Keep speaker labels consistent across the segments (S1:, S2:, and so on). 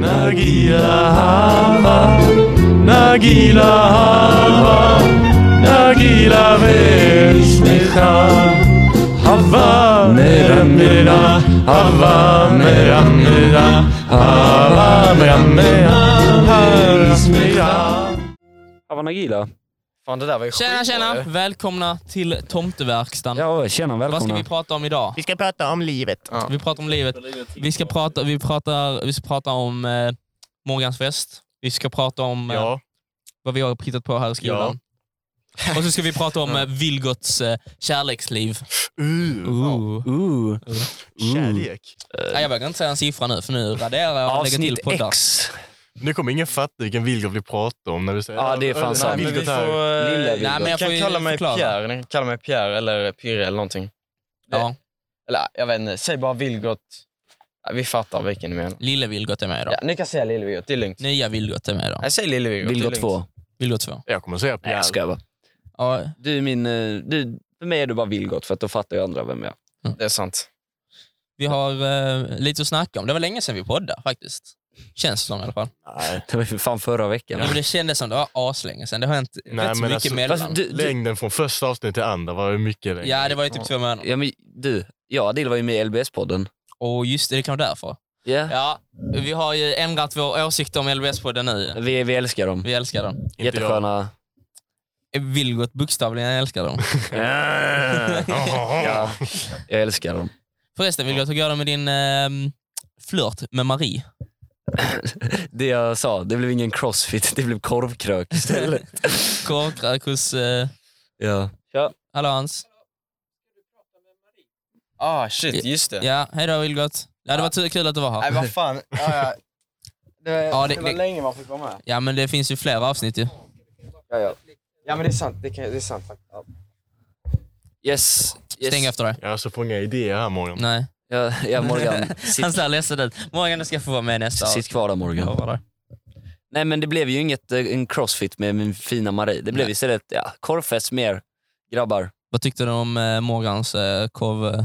S1: Nagila Hava, Nagila Hava, Nagila Veishmecha. Hava meramera, Hava meramera, Hava meramera, Veishmecha.
S2: Hava Nagila.
S3: Fan det där var ju
S4: Tjena
S3: sjukt
S4: tjena!
S3: bra ju.
S4: Välkomna till Tomteverkstan.
S2: Ja, tjena
S4: Vad ska
S2: välkomna.
S4: vi prata om idag?
S5: Vi ska prata om livet.
S4: Vi pratar om livet. Vi ska prata, vi pratar, vi ska prata om eh, Morgans fest. Vi ska prata om eh,
S5: Ja.
S4: vad vi har hittat på här i skolan. Och så ska vi prata om eh, Vilgots eh, kärleksliv.
S5: Uh,
S4: Ooh.
S2: Ooh.
S5: kärlek.
S4: Nej, jag vågar inte säga en siffra nu för nu raderar jag och lägger
S2: Mm.
S4: till
S2: Avsnitt
S4: poddar.
S2: X.
S6: Nu kommer ingen fatta vilken Vilgot vi pratar om när du säger
S2: Ja, det är fan
S6: Öl-
S2: sant.
S6: Vilgot
S3: Nej, men vi
S6: här.
S3: får, eh,
S2: Lilla
S4: Nej, men jag
S3: kan
S4: får ju
S3: kalla mig
S4: förklara.
S3: Pierre, ni kan kalla mig Pierre eller Pirre eller någonting.
S4: Ja,
S3: Eller jag vet inte, säg bara Vilgot. Ja, Vi fattar vilken ni menar.
S4: Lille Vilgot är med idag.
S3: Ja, ni kan säga Lille-Vilgot, det är lugnt.
S4: Nya Vilgot är med idag.
S3: Nej, säg Lille-Vilgot, det är
S2: Vilgot
S3: lugnt.
S2: 2.
S4: Vilgot 2.
S6: Jag kommer säga
S2: Nej,
S6: Pierre.
S2: jag skojar bara.
S4: Ja,
S2: Du är min... eh, Du, för mig är du bara Vilgot, för att då fattar jag andra vem jag är.
S3: Det är sant.
S4: vi har eh, lite att snacka om. Det var länge sedan vi poddade faktiskt. Känns det som i alla fall.
S2: Det var ju för fan förra veckan.
S4: Ja. Men det kändes som det var aslänge sedan. Det har hänt
S6: Nej,
S4: rätt så
S6: men
S4: mycket
S6: alltså-
S4: mellan.
S2: Fast du, du,
S6: Längden från första avsnittet till andra var ju mycket längre.
S4: Ja, det var ju typ två månader.
S2: ja, men du, jag och Adil var ju med i LBS-podden.
S4: Och just det, det kan vara därför.
S2: Ja.
S4: Ja, vi har ju ändrat vår åsikt om LBS-podden nu.
S2: Vi, vi älskar dem.
S4: Vi älskar dem.
S6: Inte jag.
S2: Jättesköna.
S4: Vilgot bokstavligen älskar dem.
S6: Eh,
S2: Ja, jag älskar dem.
S4: Förresten Vilgot, hur går det med din ehm, flört med Marie?
S2: Det jag sa, det blev ingen crossfit, det blev korvkrök istället.
S4: Korvkrök hos... Eh,
S2: Ja.
S4: hallå Hans.
S3: Ah, shit, just det.
S4: Ja, hej då Vilgot. Ja, det var tu- kul att du var
S3: Nej,
S4: här.
S3: vad fan. Ja, ja. Det,
S4: Ja, det-
S3: det var
S4: det-
S3: länge man fick vara med.
S4: Ja, men det finns ju flera avsnitt ju.
S3: Ja, men det är sant. Det, kan, det är sant faktiskt. Ja.
S2: Yes. yes.
S4: Stäng efter dig.
S6: Jag har så många idéer här Morgan.
S4: Nej.
S2: Ja, ja, Morgan. Sitt,
S4: Han ser ledsen ut. Morgan, du ska få vara med nästa
S2: sitt kvar där Morgan.
S4: avsnitt.
S2: Nej men det blev ju inget eh, en crossfit med min fina Marie. Det blev
S4: Nej.
S2: istället ja, korvfest mer grabbar.
S4: Vad tyckte du om eh, Morgans eh, korv? eh?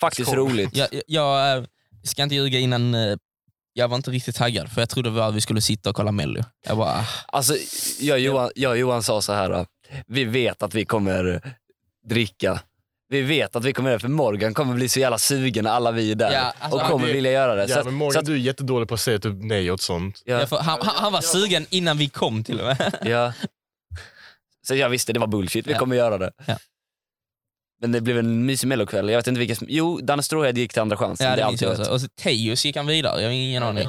S2: Faktiskt
S6: Korv.
S2: roligt.
S4: Jag, jag, jag eh, ska inte ljuga innan, eh, jag var inte riktigt taggad för jag trodde väl att vi skulle sitta och kolla Mello. Jag bara, ah,
S2: Alltså, jag och Johan, jag och Johan sa så här. eh, Vi vet att vi kommer eh, dricka. Vi vet att vi kommer göra det, för Morgan kommer bli så jävla sugen när alla vi är där.
S4: Ja, alltså,
S2: och
S4: ja,
S2: kommer
S6: det-
S2: vilja göra det. Så
S6: Ja,
S2: att,
S6: men
S2: så
S6: Morgan,
S2: att,
S6: du är jättedålig på att säga typ nej åt sånt.
S2: ja,
S4: jag får, han, han, han var sugen innan vi kom till och med.
S2: ja. Så jag visste, det var bullshit. Vi
S4: Ja.
S2: kommer göra det.
S4: Ja.
S2: Men det blev en mysig mellokväll. Jag vet inte vilka som... Jo, Danne Stråhed gick till andra chansen.
S4: Ja,
S2: det är
S4: det
S2: allt
S4: minns jag
S2: jag
S4: också.
S2: vet.
S4: och så Teus gick han vidare, jag har ingen aning.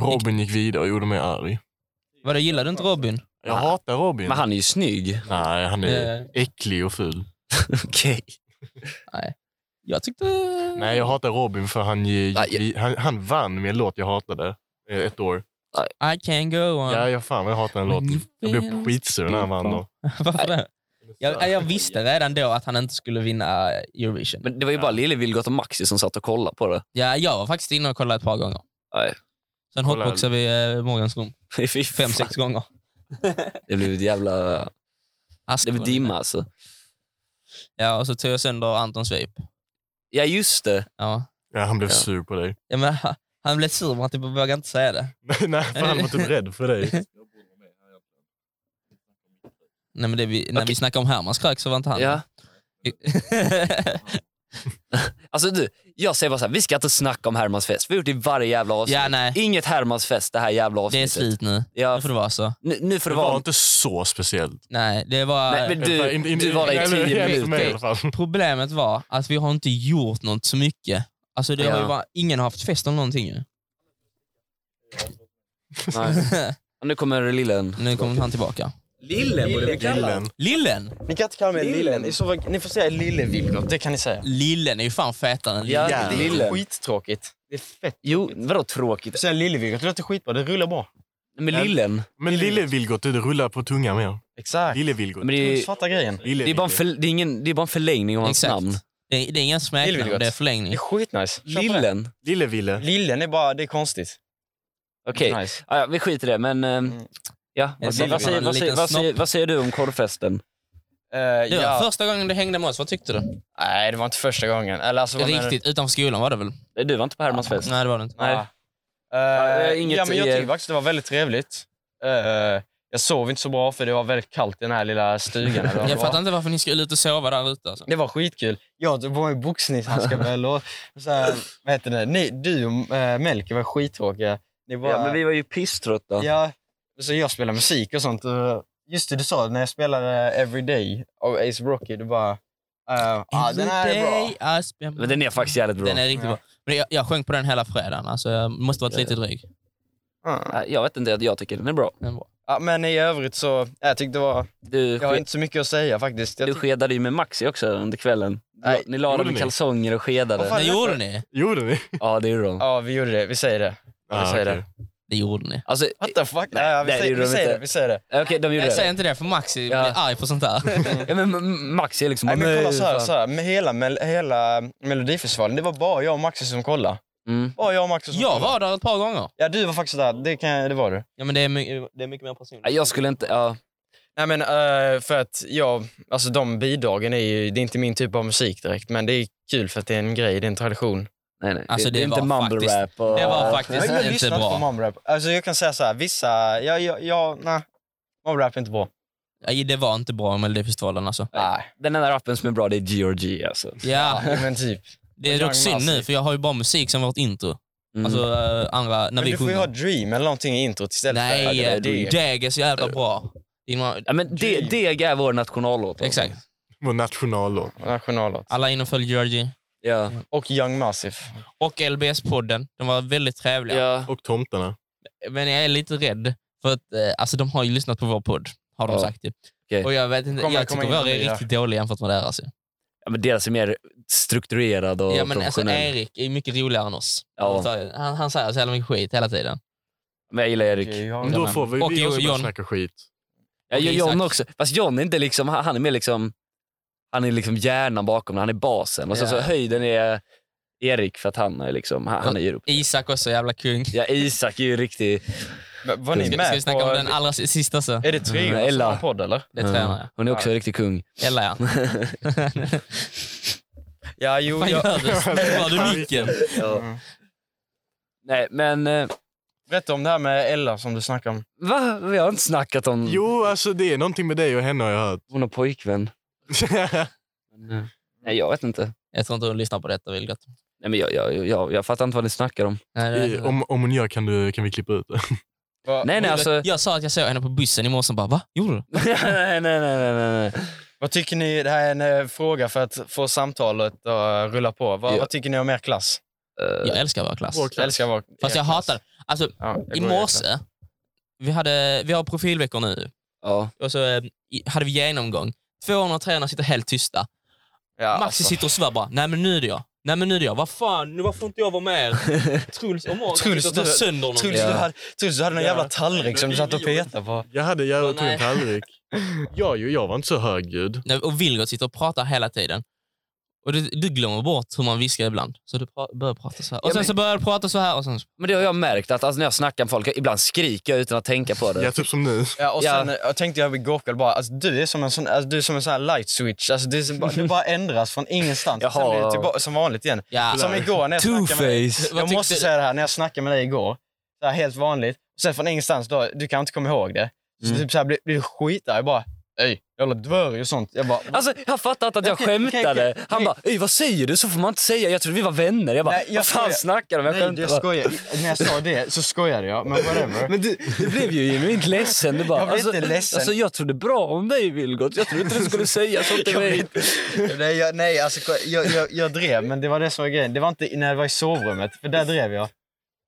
S6: Robin gick vidare och gjorde mig arg.
S4: Vadå, gillade du inte Robin?
S6: Jag
S2: Nej.
S6: hatar Robin.
S2: Men han är ju snygg.
S6: Nej, han är
S4: Eh,
S6: äcklig och ful.
S2: Okej.
S4: jag tyckte...
S6: Nej, jag hatar Robin för han, gick,
S2: Nej, jag-
S6: vi- han, han vann med en låt jag hatade. eh, Ett år.
S4: I can go on.
S6: Ja, jag fan vad jag hatar den låten. Jag blev skitsur när han vann då.
S4: Varför det? Jag, jag visste redan då att han inte skulle vinna eh, Eurovision.
S2: Men det var ju bara Lille Vilgot och Maxi som satt och kollade på det.
S4: Ja, jag var faktiskt inne och kollade ett par gånger.
S2: Nej.
S4: Sen
S6: Kolla.
S4: hotboxade vi eh, Morgans rum
S2: Fy
S4: fem,
S2: fan,
S4: sex gånger.
S2: Det blev ett jävla... Det blev dimma alltså.
S4: Ja, och så tog jag sönder Antons vape.
S2: Ja, just det.
S4: Ja.
S6: Ja, han blev
S2: Ja.
S6: sur på dig.
S4: Ja, men, ha- han blev sur men han typ vågade inte säga det.
S6: Nej, för han var typ rädd för dig.
S4: Nej, men det vi, När vi
S2: Okej.
S4: snackade om Hermans krök så var inte han
S2: Ja. Alltså du, jag säger bara så här, vi ska inte snacka om Hermans fest. Vi har gjort det i varje jävla avsnitt.
S4: ja, nej.
S2: Inget Hermans fest det här jävla
S4: Det är
S2: avsnittet.
S4: slut nu.
S2: Ja,
S4: Nu får det vara så.
S2: nu, nu får
S6: Det
S2: det
S6: var
S2: vara...
S6: inte så speciellt.
S4: Nej, det var...
S2: Nej, men
S6: Eller,
S2: du,
S6: in- in-
S2: du var där i
S6: eller,
S2: tio
S6: enligt mig i
S2: minuter.
S6: alla fall.
S4: Problemet var att vi har inte gjort något så mycket. Alltså, det har
S2: Ja.
S4: ju bara, ingen har haft fest om någonting ju.
S2: Nej. Och Nu kommer lillen.
S4: Nu kommer han tillbaka.
S3: Lillen borde vi
S6: Gillen.
S4: Lillen!
S3: Ni kan inte kalla mig Lillen. I så fall, ni får säga Lille-Vilgot, det kan ni säga.
S4: Lillen är ju fan fetare än Lillen.
S2: Ja,
S3: Det är
S2: lillen.
S3: skittråkigt. Det är fett.
S2: Jo, vadå tråkigt?
S3: Säg Lille-Vilgot, det låter skitbra. Det rullar bra.
S2: Men lillen,
S6: Men lille Vilgot, det rullar på tungan mer.
S3: Exakt.
S6: Lille Vilgot.
S2: men det
S3: Du
S2: är,
S3: fattar grejen.
S6: Lille
S2: det är, bara, en
S6: Vilgot.
S2: för, det är, ingen, det är bara en förlängning av hans
S4: Exakt.
S2: namn.
S4: Det är, det är ingen smeknamn,
S3: Lillvilgot.
S4: det är
S3: Det
S4: förlängning.
S3: är skitnice. Kör på det.
S2: Lillen?
S6: Lille Ville.
S3: Lillen är bara, det är konstigt.
S2: Okej,
S3: Nice.
S2: Ja, ja, vi skiter i det. Men, ehm,
S3: Mm.
S2: ja, vad,
S4: Lille
S2: säger, vad, säger,
S4: Vilgot.
S2: vad, säger, vad, säger, vad säger du om korvfesten?
S3: Eh,
S4: Det var
S3: ja.
S4: första gången du hängde med oss, vad tyckte du?
S3: Nej, det var inte första gången. Eller alltså, vad menar du?
S4: Riktigt, utanför skolan var det väl?
S2: Du var Eh, inte på Hermans fest?
S4: Nej, det var det inte.
S3: Nej. Eh,
S2: eh, inget
S3: ja, men jag
S2: i er.
S3: tyckte faktiskt det var väldigt trevligt. Eh, jag sov inte så bra för det var väldigt kallt i den här lilla stugan. eller vad det
S4: Jag
S3: var.
S4: fattar inte varför ni skulle ut och sova där ute. Alltså.
S3: Det var skitkul. Jag tog på mig boxningshandskar med lå- så här, vad heter det? Ni, Du och eh, Melker var skittråkiga. Ni bara,
S2: Ja, men vi var ju pisströtta.
S3: Ja, så jag spelar musik och sånt. och Just det, du sa när jag spelade Everyday av Ace Rocky, du bara... eh, ah, den här är bra.
S4: Everyday I spend my-
S2: Men den är faktiskt jävligt bra.
S4: Den är riktigt
S3: Ja.
S4: bra. Men jag, jag sjöng på den hela fredagen, alltså, jag måste varit lite dryg.
S3: Ah.
S2: Nej, Jag vet inte, jag tycker den är bra.
S4: Den var.
S3: Ja, men i övrigt så, jag tyckte det var...
S2: Du,
S3: Jag har
S2: sked,
S3: inte så mycket att säga faktiskt. Jag
S2: du
S3: tyckte,
S2: skedade ju med Maxi också under kvällen. Du,
S3: Nej,
S2: ni la
S6: gjorde
S2: dem i
S6: ni?
S2: kalsonger och
S3: Vad
S2: skedade.
S3: fan?
S4: Det gjorde ni.
S6: Gjorde ni? Ah,
S2: Ja, det gjorde de.
S3: ja, vi gjorde det. Vi säger det. Ja, vi säger det.
S4: Det gjorde ni.
S2: Alltså,
S3: What the fuck?
S2: Nej,
S3: Nej, ja, vi,
S2: det
S3: säger,
S2: gjorde
S3: vi,
S2: de
S3: säger
S2: inte.
S3: det, vi säger det.
S2: okej, de gjorde
S4: Jag säger
S2: det.
S4: inte det för Maxi
S2: Ja.
S4: blir arg på sånt där.
S2: Ja, men M- Maxi är liksom...
S3: Nej, men kolla
S2: "Nej,
S3: så här,
S2: fan."
S3: så här. Med hela, med hela Melodifestivalen, det var bara jag och Maxi som kollade.
S2: Mm.
S3: Bara jag och Maxi som
S4: Jag
S3: kollade.
S4: var där ett par gånger.
S3: Ja, du var faktiskt där. Det, kan, jag- det var du.
S4: Ja, men det, är mycket, det är mycket mer
S2: Nej,
S4: personligt.
S2: Jag skulle inte... Ja.
S3: Nej men eh, för att jag, alltså de bidragen är ju, det är inte min typ av musik direkt men det är kul för att det är en grej, det är en tradition.
S2: Nej, nej.
S4: Alltså,
S2: det, det
S4: det
S2: är inte
S4: var
S2: mumble
S4: faktiskt-
S2: rap. Och,
S4: det var faktiskt-
S3: jag
S4: inte
S3: lyssnar
S4: bra.
S3: på momrap. Alltså jag kan säga så här, vissa, ja, ja, ja nej. Momrap är inte bra.
S4: Nej, Det var inte bra med Melodifestivalen alltså.
S3: Nej.
S2: Den enda rappen som är bra, det är Georgie alltså.
S4: Ja,
S3: men typ.
S4: det är
S3: Young
S4: dock synd nu
S3: Maxi.
S4: för jag har ju bara musik som vårt intro.
S2: Mm.
S4: Alltså eh, andra, när
S3: Men
S4: vi
S3: du får ju ha
S4: sjunger.
S3: Dream eller någonting i introt istället. för,
S4: Nej,
S3: ja,
S4: eh, Deg är så jävla bra. Det är några-
S2: ja, men det,
S3: Dream.
S2: Deg är vår nationallåt. alltså.
S4: Exakt.
S6: Vår nationallåt.
S3: Nationallåt.
S4: Alla in och följ Georgie.
S2: Ja.
S3: Och Young Massive.
S4: Och LBS-podden. De var väldigt trevliga.
S2: Ja.
S6: Och tomtarna.
S4: Men jag är lite rädd. För att eh, alltså, de har ju lyssnat på vår podd. Har de
S2: Ja.
S4: sagt det.
S2: Okej.
S4: Och jag vet inte,
S3: Kommer-
S4: jag
S3: kommer
S4: tycker
S3: in
S4: vår
S3: på
S4: är
S3: nya.
S4: riktigt dålig jämfört med deras. ju.
S2: Ja, men deras är mer strukturerad och
S4: Ja, men alltså,
S2: professionell.
S4: Erik är mycket roligare än oss.
S2: Ja.
S4: Han, han säger så jävla mycket skit hela tiden.
S2: Men jag gillar Erik.
S3: Okej,
S6: Men
S3: jag-
S6: Då får vi,
S4: Och
S6: vi också börja
S4: John.
S6: snacka skit.
S2: Ja,
S4: Och
S2: John
S4: Isak.
S2: också. Fast John är inte liksom, han han är mer liksom, han är liksom hjärnan bakom det. Han är basen. Och sen
S4: Ja.
S2: så höjden är Erik för att han är liksom, han, han är ju...
S4: Isak också, jävla kung.
S2: Ja, Isak är ju riktig...
S3: Men Var ni
S4: Ska, ska vi
S3: med
S4: snacka om den
S3: på...
S4: allra si- sista så?
S3: Är det tre
S2: Mm, Ella.
S3: som har podd eller?
S4: Det tror jag med.
S2: Mm. Hon är också en riktig kung.
S4: Ella ja.
S3: Ja, jo.
S4: Vad
S3: jag-
S4: gör du? Smäller du micken?
S2: Ja. Nej, men... eh,
S3: Mm. Berätta om det här med Ella som du snackade om.
S2: Va? Vi har inte snackat om...
S6: Jo, alltså det är någonting med dig och henne har jag hört.
S2: Hon har pojkvän. Men, eh, Nej, jag vet inte.
S4: Jag tror inte hon lyssnar på detta Vilgot.
S2: Nej, men jag, jag, jag, jag fattar inte vad ni snackar om.
S4: Nej, det-
S6: I, om, om hon gör kan, du, kan vi klippa ut det.
S3: Vad-
S2: Nej, nej, alltså...
S4: Jag sa att jag såg henne på bussen i morse och bara va? Gjorde du?
S2: nej, nej, nej, nej, nej.
S3: Vad tycker ni, det här är en eh, fråga för att få samtalet att eh, rulla på. Vad,
S2: Ja.
S3: vad tycker ni om er klass?
S2: Eh,
S4: Jag älskar vår klass.
S3: Jag älskar vår
S4: Fast
S3: er
S4: jag
S3: klass.
S4: hatar Alltså
S3: Ja, jag går
S4: i
S3: er klass.
S4: morse, vi, hade, vi har profilveckor nu
S2: ja.
S4: och så eh, i- hade vi genomgång. 200 och 300 sitter helt tysta.
S3: Ja,
S4: Maxi
S3: alltså.
S4: sitter och svär bara, nej men nu är det jag. Nej men nu är det jag. Vad fan, nu varför får inte jag vara med? Truls och Morgan
S3: Truls,
S4: sitter och tar
S3: du-
S4: sönder någon.
S3: Truls, du hade, Truls, du hade någon
S6: Ja.
S3: jävla tallrik som du satt och petade på.
S6: Jag hade
S4: Ja,
S6: jag tog
S4: nej.
S6: en tallrik. Jag, ju- jag var inte så högljudd.
S4: Nej, Och Vilgot sitter och pratar hela tiden. Och du, du glömmer bort hur man viskar ibland. Så du pra, börjar prata så här. Och
S2: Ja,
S4: sen
S2: men-
S4: så börjar du prata så här. Och sen,
S2: Men det har jag märkt att alltså, när jag snackar med folk, ibland skriker jag utan att tänka på det.
S6: Ja, typ som nu.
S3: Ja, och
S2: Ja.
S3: sen eh, jag tänkte jag igår kväll bara, alltså, du är som en sån, alltså, du är som en sån här light switch. Alltså, du, är som, bara- du bara ändras från ingenstans.
S2: Jaha.
S3: Sen blir du tillbaka som vanligt igen.
S4: ja,
S3: Som igår när jag snackade med dig.
S2: Two-face!
S4: Vad
S3: Jag
S4: tyckte
S3: måste
S4: du?
S3: säga det här, när jag snackade med dig igår, så här, helt vanligt, och sen från ingenstans, då, du kan inte komma ihåg det. Så
S2: Mm.
S3: typ så här, blir, blir du skitarg bara, ej, jävla dvärg och sånt. Jag bara,
S2: Alltså, han fattade inte att jag
S3: Okej, okej,
S2: skämtade.
S3: okej.
S2: Han bara, "Ey, vad säger du? Så får man inte säga. Jag trodde vi var vänner. Jag bara,
S3: Nej, jag
S2: vad fan
S3: skojar.
S2: snackar du om? Jag
S3: nej, jag
S2: skämtar bara."
S3: skojar. När jag sa det så skojade jag, men whatever.
S2: Men du, du blev ju genuint ledsen. Du bara,
S3: Jag blev inte ledsen.
S2: Alltså, jag trodde bra om dig Vilgot. Jag trodde inte du skulle säga så till mig.
S3: nej, jag, nej alltså, ko- jag, jag, jag drev, men det var det som var grejen. Det var inte när jag var i sovrummet, för där drev jag.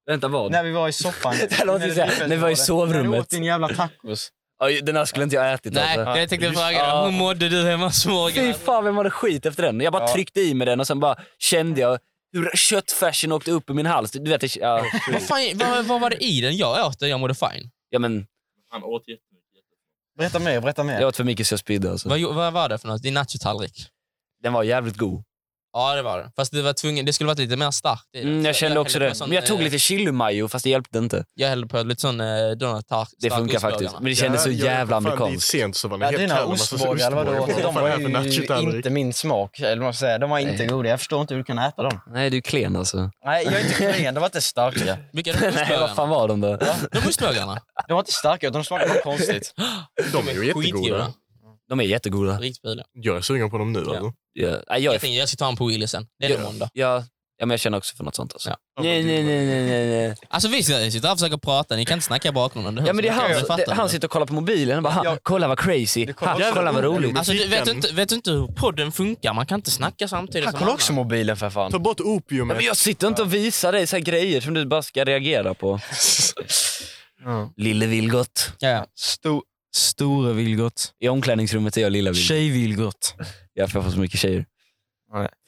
S2: Vänta, vad?
S3: När vi var i soffan.
S2: här låter ju så här,
S3: blev-
S2: när vi var i
S3: När du
S2: sovrummet.
S3: åt din jävla tacos.
S2: Oj, Den här skulle inte jag ha ätit.
S4: Nej,
S2: alltså.
S4: jag tänkte fråga dig.
S2: Ja.
S4: Hur mådde du hemma hos
S2: Fy
S4: Morgan?
S2: fan, vem hade skit efter den? Jag bara
S3: Ja.
S2: tryckte i mig den och sen bara kände jag hur köttfärsen åkte upp i min hals. Du vet, det- ja,
S4: Vad, fan, vad, vad var det i den? Jag åt det, jag mådde fine.
S2: ja, men,
S3: Berätta mer, berätta mer.
S2: jag åt för mycket så jag spydde. Alltså.
S4: Vad, gjo- vad var det för något? Din nachotallrik?
S2: Den var jävligt god.
S4: Ja, det var det. Fast det, var tvungen, det skulle varit lite mer starkt i det.
S2: Mm, jag
S4: Så
S2: kände också
S4: hällde på
S2: det.
S4: sån,
S2: Men jag tog
S4: eh,
S2: lite chilimajo fast det hjälpte inte.
S4: Jag hällde på lite sån eh, Donald Stark.
S2: Det
S4: stark
S2: funkar
S4: ostbågarna.
S2: faktiskt. Men det kändes så
S6: Ja, jag kom
S2: jävla
S6: fan Dit
S2: amerikanskt.
S6: sent så var det
S3: Ja,
S6: helt
S3: dina
S6: jävla massa
S3: ostbågar, eller vad det
S6: ostbågar.
S3: var,
S6: Vad
S3: de
S6: fan är det för
S3: var ju
S6: nachotallrik?
S3: inte min smak. Eller vad man säger, de var inte goda. Jag förstår inte hur du kan äta dem.
S2: Nej, du är klen alltså.
S3: Nej, jag är inte klen. De var inte starka.
S4: Vilka är de
S2: Nej, vad fan
S4: ostbågarna?
S2: var de då?
S4: De ostbågarna?
S3: De var inte starka, utan de smakade bara konstigt.
S6: De är ju jättegoda.
S4: Skitgoda.
S2: De är jättegoda.
S4: Riktigt fula.
S6: Jag är sugen på dem nu alltså.
S2: Ja. Nej, jag,
S4: Jag
S2: är,
S4: tänker jag ska ta en på Willys sen. Det är
S2: Ja.
S4: nog måndag.
S2: ja, ja, men jag känner också för något sånt alltså.
S4: Ja.
S2: Nej, nej, nej, nej, nej, nej.
S4: Alltså vi ska- sitter här och försöker prata, ni kan inte snacka i bakgrunden.
S2: Ja, men det är han,
S4: Jag fattar
S2: det, han
S4: inte.
S2: sitter och kollar på mobilen och bara, "Ha, kolla vad crazy,
S3: Du kollar
S2: ha,
S3: också-
S2: kolla vad roligt.
S4: Alltså, du, vet, du
S6: Musiken.
S4: inte, vet du inte hur podden funkar? Man kan inte snacka samtidigt
S3: Han
S4: som
S3: kollade
S4: andra.
S3: också mobilen för fan.
S6: Ta bort
S2: Ja, men
S6: opiumet.
S2: jag sitter inte och visar dig så här grejer som du bara ska reagera på. Lille Vilgot.
S4: Ja, ja.
S7: Sto- Store Vilgot.
S2: I omklädningsrummet är jag Lilla Vilgot.
S7: Tjej-Vilgot.
S2: Jag får så mycket tjejer.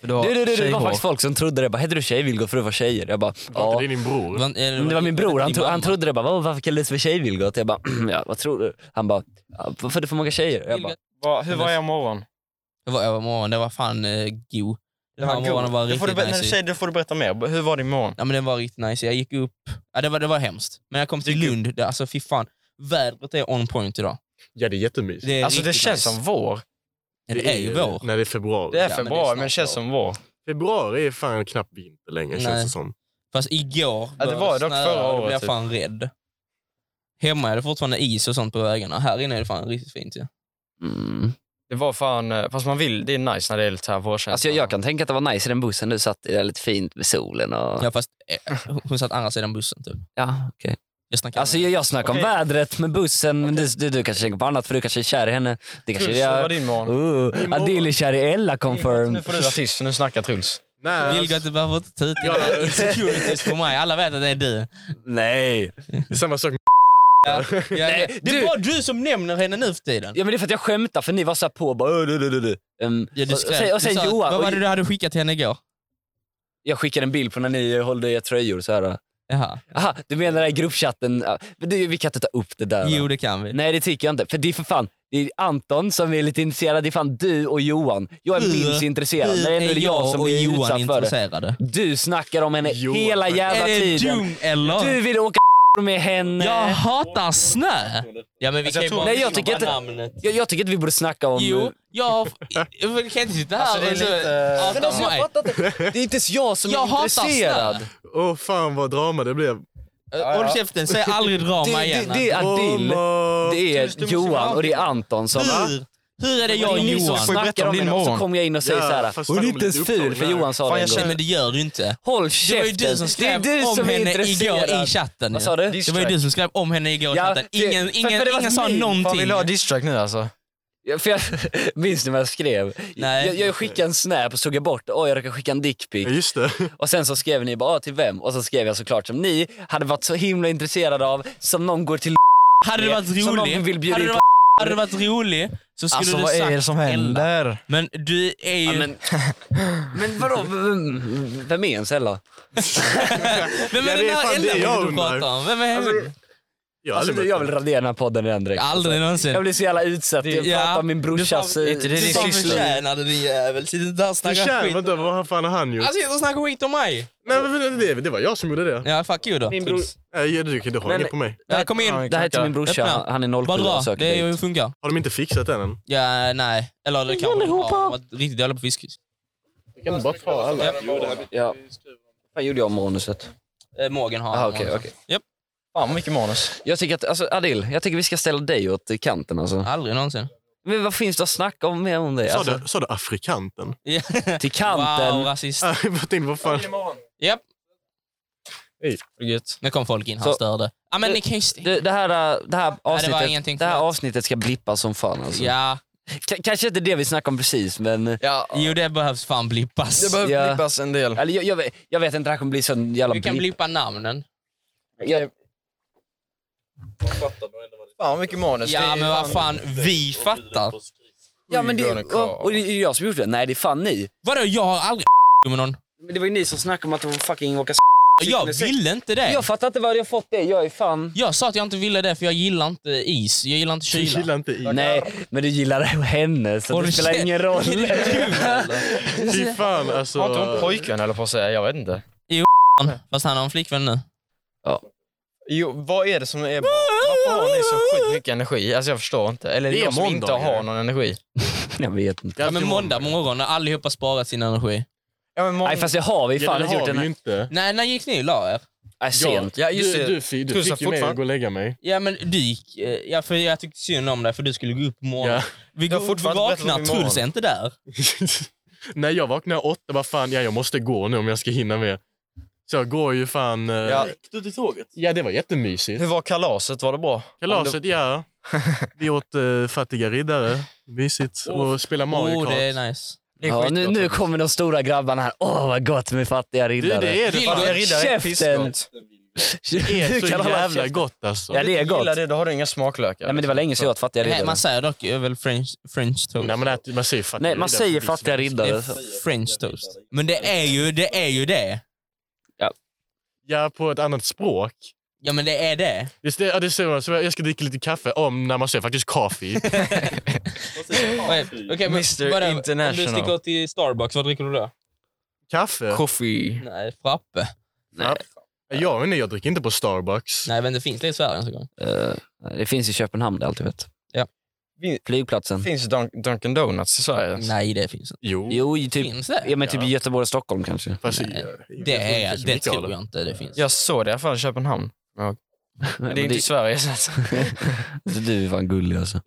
S7: För du har
S2: Du, du, du, det var
S7: tjejhår.
S2: faktiskt folk som trodde det. Bara, heter du tjej-Vilgot för du var tjejer? Jag bara,
S6: Var
S2: ja.
S6: inte det din bror?
S4: Men, eh,
S2: Men Det var min bror, han,
S4: Din
S2: tro,
S4: mamma.
S2: han trodde det. Bara, "Vad- varför kallades vi tjej-Vilgot? Jag bara, "Mm, ja, vad tror du? Han bara, ja, varför är det för många tjejer? Jag bara,
S3: Va, hur var jag imorgon?
S4: Det var övermorgon, det var fan eh, go. Den här morgonen var
S3: det får du,
S4: riktigt
S3: ber- när du
S4: nice.
S3: säger det får du berätta mer. Hur var din morgon?
S4: Ja, men den var riktigt nice. Jag gick upp, ja, det, var, det var hemskt. Men jag kom till Lund, det, alltså fy fan. Vädret är on point idag.
S6: Ja, det är jättemysigt.
S4: Det är
S3: Alltså det
S4: riktigt
S3: känns
S4: nice.
S3: som vår.
S4: Ja, Det är ju vår.
S6: Nej, det är februari.
S3: Det är
S4: Ja, men det är
S3: februari,
S4: snart
S3: men det känns
S4: vår.
S3: som vår.
S6: Februari är fan knappt vinter längre känns
S4: Nej.
S6: det som.
S4: Fast igår
S3: Ja, det var
S4: började
S3: dock
S4: snöa
S3: förra
S4: och då blev
S3: året,
S4: jag
S3: typ.
S4: fan rädd. Hemma är det fortfarande is och sånt på vägarna. Här inne är det fan riktigt fint ju. Ja.
S2: mm.
S3: Det var fan, eh, fast man vill, det är nice när det är lite här vårkänsla.
S2: Alltså jag, jag kan tänka att det var nice i den bussen du satt i, där lite fint med solen och... Ja,
S4: fast eh, hon satt andra sidan bussen typ.
S2: okej.
S4: Jag snackade
S2: Alltså
S4: med-
S2: jag, jag snackar om
S3: Okej.
S2: vädret med bussen, men du, du, du kanske tänker på annat för du kanske är kär i henne. Det kanske
S3: Truls, hur var
S2: jag...
S3: din
S4: Mm.
S3: morgon?
S2: Uh, Adil är kär i Ella confirm.
S3: Nu får du artist, så nu snackar Truls.
S6: Nej,
S4: Vilgot, du behöver inte ta ut dina insecurities på mig. Alla vet att det är du.
S2: Nej.
S6: det är samma sak med
S4: Jag,
S2: Nej,
S4: det är
S2: du-
S4: bara du som nämner henne nu för tiden.
S2: Ja men det är för att jag skämtar för ni var så här på bara... "Ö, Du, du, du, du. Ehm,
S4: Ja, du
S2: och, och
S4: skrev,
S2: sen, och sen
S4: du sa,
S2: Johan,
S4: vad var
S2: och
S4: det du hade skickat till henne igår?
S2: jag skickade en bild på när ni håller i era tröjor så här.
S4: Jaha.
S2: Aha, du menar i gruppchatten? Ja, men Du, vi kan inte ta upp det där.
S4: Jo, det kan vi.
S2: Nej det tycker jag inte, för det är för fan det är Anton som är lite intresserad, det är fan du och Johan. Jag är
S4: Du-
S2: minst intresserad.
S4: Hur
S2: Nej, nu är det jag som
S4: och
S2: är
S4: Johan
S2: utsatt för det.
S4: intresserade?
S2: Du snackar om henne
S6: Johan.
S2: hela jävla
S4: Är det
S2: tiden.
S4: dum eller?
S2: Du vill åka med henne.
S4: jag hatar snö! Ja, men vi kan ju
S3: tror-
S4: bara
S2: Nej, jag tycker
S4: skriva
S2: inte-
S4: namnet.
S2: Jag, jag tycker att vi borde snacka om...
S4: Jo, jag har... Jag kan inte sitta här
S3: Alltså, det är
S4: och så-
S3: lite-
S4: prata
S2: Men alltså,
S4: om
S2: jag
S4: mig.
S2: fattar inte. Det är inte ens jag som
S4: Jag
S2: är
S4: hatar snö.
S2: intresserad.
S6: Åh fan vad drama det blev.
S4: Håll käften, säg aldrig
S2: Det,
S4: drama
S2: det,
S4: igen.
S2: det är Adil,
S6: Drama.
S2: det
S3: Just det,
S2: är
S3: måste vara
S2: Johan och det är Anton som...
S4: Hur? Hur är det jag
S2: alltså, Det
S4: och
S2: är ni som
S4: Johan?
S2: snackar
S3: berätta
S2: om
S3: om din
S2: henne och så
S3: morgon.
S2: kommer jag in och säger
S6: Ja,
S2: såhär,
S6: fast
S2: hon är
S6: fan,
S2: inte
S6: de
S2: ens
S6: blir
S2: ful för
S6: upptagna här.
S2: Johan sa
S3: Fan,
S2: det en
S3: jag
S4: Nej,
S2: gång.
S4: men det gör du inte.
S2: Håll
S4: Det var ju
S2: käften!
S4: du som skrev
S2: det är du
S4: om
S2: som är
S4: henne igår i
S2: intresserad.
S4: chatten.
S2: Vad sa du?
S4: Det var ju du som skrev om henne igår i
S2: Ja,
S4: chatten.
S2: det-
S4: Ingen,
S2: för-
S4: ingen,
S2: för det var
S4: ingen
S2: ett
S4: sa
S2: meme.
S3: Fan,
S4: någonting.
S3: vill du ha distrack nu alltså?
S2: Ja, För jag minns ni vad jag skrev?
S4: Nej.
S2: Jag, jag skickade en snap och så tog jag bort åh jag råkade skicka en dickpic.
S6: Ja, just det. Alltså,
S2: Och sen så skrev ni bara "Ah, till vem? Och så skrev jag såklart som ni hade varit så himla intresserade av som någon går till
S4: Hade det varit
S2: Som någon vill
S4: rolig,
S2: bjuda
S4: hade
S2: in
S4: det
S2: på
S4: varit, hade det varit rolig så skulle
S7: Alltså
S4: du
S7: vad är det
S4: sagt
S7: som
S4: Ella.
S7: händer?
S4: Men du är ju...
S2: Ja, men, men vadå, vem- vem är ens Ella?
S6: Ja,
S4: Vem är
S6: det är
S4: den här
S6: fan det
S4: Ella
S6: jag
S4: du pratar
S6: undrar.
S4: om? Vem är
S6: Alltså,
S4: hon?
S6: Jag har
S2: Alltså,
S6: aldrig mött
S2: jag vill
S6: henne.
S2: radera den här podden redan direkt.
S4: Aldrig
S2: Jag
S4: någonsin.
S2: blir så jävla utsatt, jag
S4: Ja.
S2: pratar om min brorsas... eh,
S4: Du
S3: Det
S4: Du
S3: är din
S4: fan
S3: syster.
S4: förtjänar det din jävel. Sitt inte där
S6: Du
S4: och snacka skit.
S6: känner inte vad fan har han gjort?
S4: Han sitter och snackar skit om mig.
S6: Nej, men, men, det, det var jag som gjorde det.
S4: Ja, fuck you då. Truls.
S6: Nej, du, du har
S2: Men-
S6: inget på mig.
S4: Ja, kom in.
S2: Det här är till min brorsa,
S4: Öppna.
S2: han är 07
S4: Bara
S2: och
S4: dra.
S2: söker
S4: Det är
S2: dejt.
S4: ju funkar.
S6: Har de inte fixat den än?
S4: Ja, nej. Eller det kanske de har. De har varit riktigt dåliga på fiskis.
S6: Du kan inte bara ta alla.
S2: Ja. Vad gjorde jag manuset?
S4: Eh, Mågen har
S2: Jaha, Ah, okej, okej.
S4: Japp.
S3: Fan vad mycket manus.
S2: Jag tycker att, alltså Adil, jag tycker vi ska ställa dig åt kanten alltså.
S4: Aldrig någonsin.
S2: Men vad finns det att snacka om mer om det?
S6: Sa
S2: Alltså,
S6: du, sa du afrikanten?
S4: Ja.
S2: till kanten.
S4: Wow, rasist.
S6: Jag tänkte, vad fan?
S4: Japp.
S6: Hej.
S4: Nu kom folk in, han
S2: Så-
S4: störde. Ja, men
S2: Du-
S4: ni kan ju... st-
S2: Du, det, här, äh, det, här
S4: var
S2: avsnittet,
S4: ingenting,
S2: det här
S4: förlåt.
S2: avsnittet ska blippas som fan alltså.
S4: Ja,
S2: K- kanske inte det vi snackar om precis men...
S3: Ja,
S4: jo det behövs fan blippas.
S3: det behöver
S2: Ja.
S3: klippas en del.
S2: Eller, jag, jag, vet, jag vet inte, det här kommer bli sån jävla
S4: Vi kan
S2: blipp.
S4: blippa namnen.
S2: Jag,
S3: Fan vad mycket manus. Det
S4: Ja
S3: är
S4: men vad fan, vi fattar.
S2: ja men det,
S3: Sjuhundra kvar.
S2: och, och det är jag som gjort det. Nej det är fan ni.
S4: Vadå jag har aldrig med någon.
S2: Men det var ju ni som snackade om att det var fucking åka s-
S4: Jag ville inte det.
S2: Jag fattar inte var jag fått det. Jag är fan...
S4: Jag sa att jag inte ville det för jag gillar inte is. Jag gillar inte
S6: Du
S4: kyla.
S6: gillar inte is.
S2: Nej, men du gillar henne så
S4: Håll
S2: det spelar
S4: käft.
S2: ingen roll.
S6: Fy fan alltså.
S3: Har inte hon pojkvän eller på att säga? Jag vet inte.
S4: Fast han har en flickvän nu.
S3: Jo, vad är det som är... Varför har ni så sjukt mycket energi? Alltså jag förstår inte. Eller
S6: Det är
S3: jag som inte
S6: måndagar.
S3: har någon energi.
S2: jag vet inte.
S6: Det är
S4: Ja,
S6: alltid
S4: men måndag morgon när allihopa sparat sin energi.
S3: Ja, men måndag...
S2: Nej fast det har vi
S6: Ja,
S2: fan
S6: det
S2: inte
S6: har
S2: gjort.
S6: vi ju
S2: Den...
S6: inte.
S4: Nej, när gick ni och la er?
S2: Nej,
S6: Ja,
S2: sent.
S3: Ja, just
S6: du,
S3: det.
S6: du, fi- du
S3: Tusen
S6: fick ju mig att
S3: fortfarande.
S6: gå och lägga mig.
S4: Ja men du gick, eh, ja, för jag tyckte synd om dig för du skulle gå upp på morgonen.
S6: Ja.
S4: Vi
S3: Jag
S4: går
S3: har
S4: upp och
S3: fortfarande inte
S4: vaknar,
S3: berättat om min
S4: Truls är inte där.
S6: Nej, jag vaknade åtta. Vad fan, ja, jag måste gå nu om jag ska hinna med. Så jag går ju fan... eh,
S3: Ja.
S1: du till tåget?
S6: ja det var jättemysigt.
S3: Hur var kalaset? Var det bra?
S6: Kalaset, ja. Vi åt eh, Fattiga riddare. Mysigt. Och spelade Mario
S4: Åh,
S6: Kart.
S4: Oh, det är nice.
S3: Det är
S2: Ja,
S3: skitgott
S2: nu, nu
S3: faktiskt.
S2: kommer de stora grabbarna här. Åh vad gott med fattiga
S6: Du,
S2: riddare.
S6: det är det
S4: Gillar
S6: fan.
S3: Fattiga riddare är
S2: Käften!
S3: pissgott.
S6: Det är
S2: Du
S6: så
S2: kan hålla
S6: jävla
S2: käften.
S6: gott alltså.
S2: Ja det är
S3: Om du gillar
S2: gott.
S3: det, då har du inga smaklökar. liksom.
S2: Nej men det var länge sedan jag åt fattiga
S4: Nej,
S2: riddare.
S4: man säger dock eh, väl french, french toast.
S6: Nej, men det, man säger fattiga
S2: Nej man
S6: riddare för
S2: säger
S6: vissa.
S2: fattiga
S4: det
S2: riddare.
S4: är french toast. Men det är ju det. Är ju det.
S6: Ja, på ett annat språk.
S4: Ja men det är det.
S6: Visst, det, ja, det säger man. Så jag ska dricka lite kaffe. Om när man säger faktiskt kaffe.
S4: Okej, okay,
S3: Mr.
S4: Om du
S3: International.
S4: sticker till Starbucks, vad dricker du då?
S6: kaffe?
S7: Coffee.
S4: Nej, frappe.
S6: Jag vet inte, jag dricker inte på Starbucks.
S4: Nej men det finns det i Sverige ens en gång.
S2: Eh, det finns i Köpenhamn det alltid vet.
S4: Ja.
S3: Vi-
S2: Flygplatsen.
S3: Finns det Dun- Dunkin' Donuts i Sverige?
S4: Nej det finns inte.
S6: Jo.
S2: Jo, i typ,
S4: Finns det?
S2: ja, men typ i Göteborg och Stockholm kanske.
S6: Fast,
S4: Nej,
S6: jag- jag
S4: Det,
S6: tror inte
S4: är,
S6: så
S4: det
S6: mycket av
S4: tror jag inte det finns.
S3: Jag såg det i alla fall i Köpenhamn. Men det är inte i Sverige. Så att...
S2: Du är fan gullig alltså.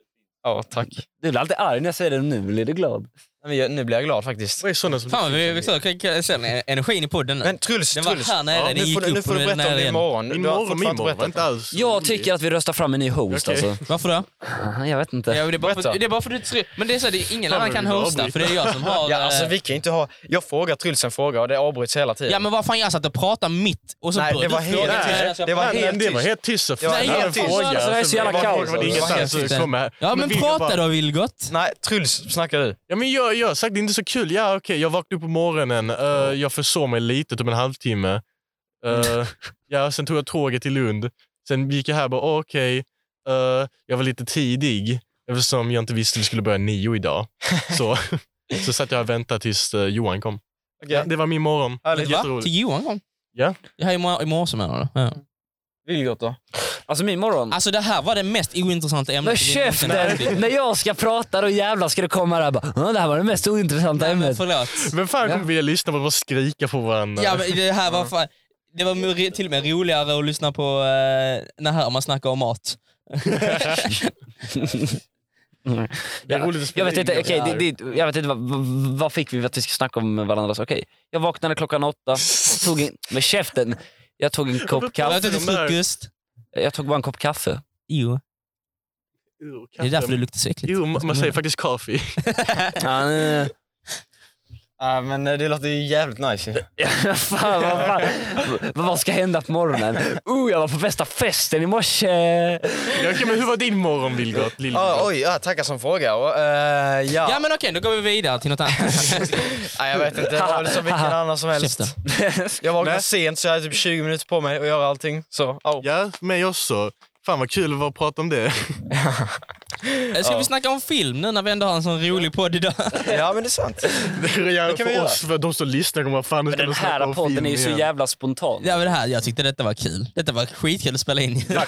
S3: Ja, tack.
S2: Du blir alltid arg när jag säger det, nu blir du glad.
S3: Nej, men jag- Nu blir jag glad faktiskt.
S6: Vad är sådana som...
S4: Fan vad vi, vi så, kan, kan, känner energin i podden nu.
S3: Men Truls,
S4: den var
S3: Truls.
S4: här nere,
S6: Ja,
S4: den
S3: nu,
S4: gick
S3: får du,
S4: upp
S3: nu får
S4: och
S3: du
S4: nu är den
S3: berätta om
S4: här
S3: din
S4: igen.
S3: morgon.
S6: Min
S3: du har
S6: morgon, min
S3: fortfarande
S6: morgon
S3: inte
S6: var inte
S3: berättat.
S6: alls
S2: Jag
S6: rolig.
S2: tycker att vi röstar fram en ny host
S6: Okej.
S2: alltså.
S4: Varför då?
S2: Jag vet inte.
S4: Ja, det, är bara för,
S3: Berätta.
S4: det är bara för att du tror... Men det är så, det är ingen
S6: Fan,
S4: annan
S6: vad
S4: kan
S6: du
S4: hosta
S6: avbryter.
S4: för det är jag som har...
S3: Ja,
S4: eh,
S3: alltså vi kan ju inte ha... Jag frågar Truls en fråga och det avbryts hela tiden.
S4: ja men vad fan jag satt och pratade mitt och så
S3: Nej,
S4: började
S3: det var
S4: du
S3: helt-
S4: fråga
S3: nej,
S4: till mig, alltså, jag
S3: det var
S4: fan-
S6: Nej,
S3: helt
S6: det var
S3: tyst.
S6: helt tyst. och
S3: Det var
S6: fan,
S4: helt
S6: jag hade en
S4: tyst.
S6: fråga.
S4: Alltså, det här
S2: är så jävla
S6: Varför
S2: kaos.
S6: var det
S4: Det var helt
S6: ingenstans
S4: tyst.
S6: att komma här?
S4: Ja men
S6: Vilgot bara-
S4: prata då Vilgot!
S3: Nej, Truls, snackar du?
S6: Ja, men jag, jag har sagt det är inte så kul. Ja, okej, jag vaknade upp på morgonen. eh, jag försov mig lite, typ en halvtimme. Eh, ja, sen tog jag tåget till Lund. Sen gick jag här och bara, "Åh, okej. eh, jag var lite tidig eftersom jag inte visste att vi skulle börja nio idag. Så, så satt jag och väntade tills eh, Johan kom. Ja, det var min morgon.
S3: Härligt.
S4: Va? Till Johan kom?
S6: Ja.
S4: Det här är imorgon- imorgon som menar du? Ja.
S3: Vilgot då?
S2: Alltså min morgon.
S4: Alltså det här var det mest ointressanta
S2: Men
S4: ämnet vi någonsin
S2: käften!
S4: haft.
S2: När jag ska prata då jävlar ska du komma där och bara "Ja, det här var det mest ointressanta
S4: Nej, men
S2: ämnet.
S4: förlåt.
S6: Vem fan
S2: Ja.
S6: kommer vilja lyssna på att bara skrika på varandra?
S4: Ja, men det här var fan... Det var ro- till och med roligare att lyssna på eh, när Herman snackar om mat.
S6: det är roligt att
S2: Jag
S6: spela
S2: vet
S6: in
S2: inte,
S6: det
S2: okej,
S6: här.
S2: det, det, jag vet inte vad, vad- vad fick vi att vi ska snacka om med varandra? Så, Okej, jag vaknade klockan åtta, tog en, med käften. Jag tog en kopp
S4: Jag
S2: kaffe.
S4: åt inte
S6: de där-
S4: frukost.
S2: Jag tog bara en kopp kaffe.
S4: Jo.
S6: Jo,
S4: Det är därför det luktar så äckligt.
S6: Jo, man man säger faktiskt kaffe.
S2: Ja, nej, nej.
S3: Ja, men eh, det låter ju jävligt nice ju.
S2: Ja, fan, vad, fan, vad, vad ska hända på morgonen? Oh, jag var på bästa festen i morse.
S6: Ja, okej, men hur var din morgon, Vilgot? Lill-
S3: Ah, oj, ja, tackar som frågar. Och, eh, ja.
S4: Ja men okej, då går vi vidare till något annat.
S3: Nej, jag vet inte. Det var väl som vilken annan som helst.
S4: Käften.
S3: Jag vaknade
S6: Nej.
S3: sent så jag hade typ 20 minuter på mig att göra allting. Så, au.
S6: Ja, mig också. Fan vad kul att vara och prata om det.
S4: Eh, Ska vi snacka om film nu när vi ändå har en sån rolig podd idag?
S3: Ja, men det är sant.
S6: Det är jävligt
S3: kan vi
S6: för
S3: göra.
S6: oss, för de som lyssnar kommer vad fan nu ska
S2: Den
S6: de snacka
S2: här
S6: om
S2: podden
S6: film
S2: är ju så
S6: igen.
S2: jävla spontan.
S4: Ja, men det här, jag tyckte detta var kul. Detta var skitkul att spela in.
S2: Fan,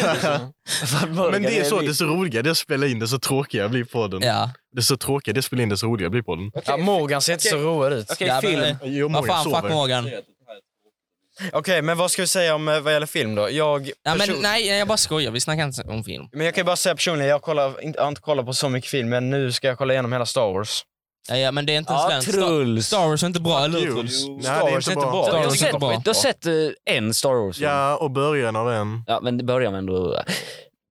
S2: Morgan,
S6: Men det är så,
S2: vi-
S6: det är så roliga det är att spela in det, så tråkiga blir podden.
S4: Ja.
S6: Det är så tråkiga det är att spela in det, så roliga blir podden.
S3: Ja, Morgan ser inte så road ut.
S2: Okej,
S4: ja, men,
S2: film.
S4: eh,
S6: Jo,
S4: Vad
S6: Morgan
S4: fan,
S6: sover.
S4: fuck Morgan.
S3: Okej, men vad ska vi säga om eh, vad gäller film då? Jag,
S4: Ja, men,
S3: person-
S4: nej, jag bara skojar. Vi snackar inte om film.
S3: men jag kan ju bara säga personligen, jag, kollar, inte, jag har inte kollat på så mycket film, men nu ska jag kolla igenom hela Star Wars.
S4: Ja, ja, men det är inte
S2: Ja,
S4: en svensk. Star,
S2: Truls.
S4: Star Wars är inte bra, eller hur
S6: Jo.
S4: Truls?
S6: Nej,
S3: Star
S6: det är
S3: Wars
S6: inte bra.
S4: Star
S2: Du har
S4: Wars är
S2: sett,
S4: inte bra.
S2: du har sett eh, en Star Wars film.
S6: Ja, och början av en.
S2: ja, men det börjar med ändå...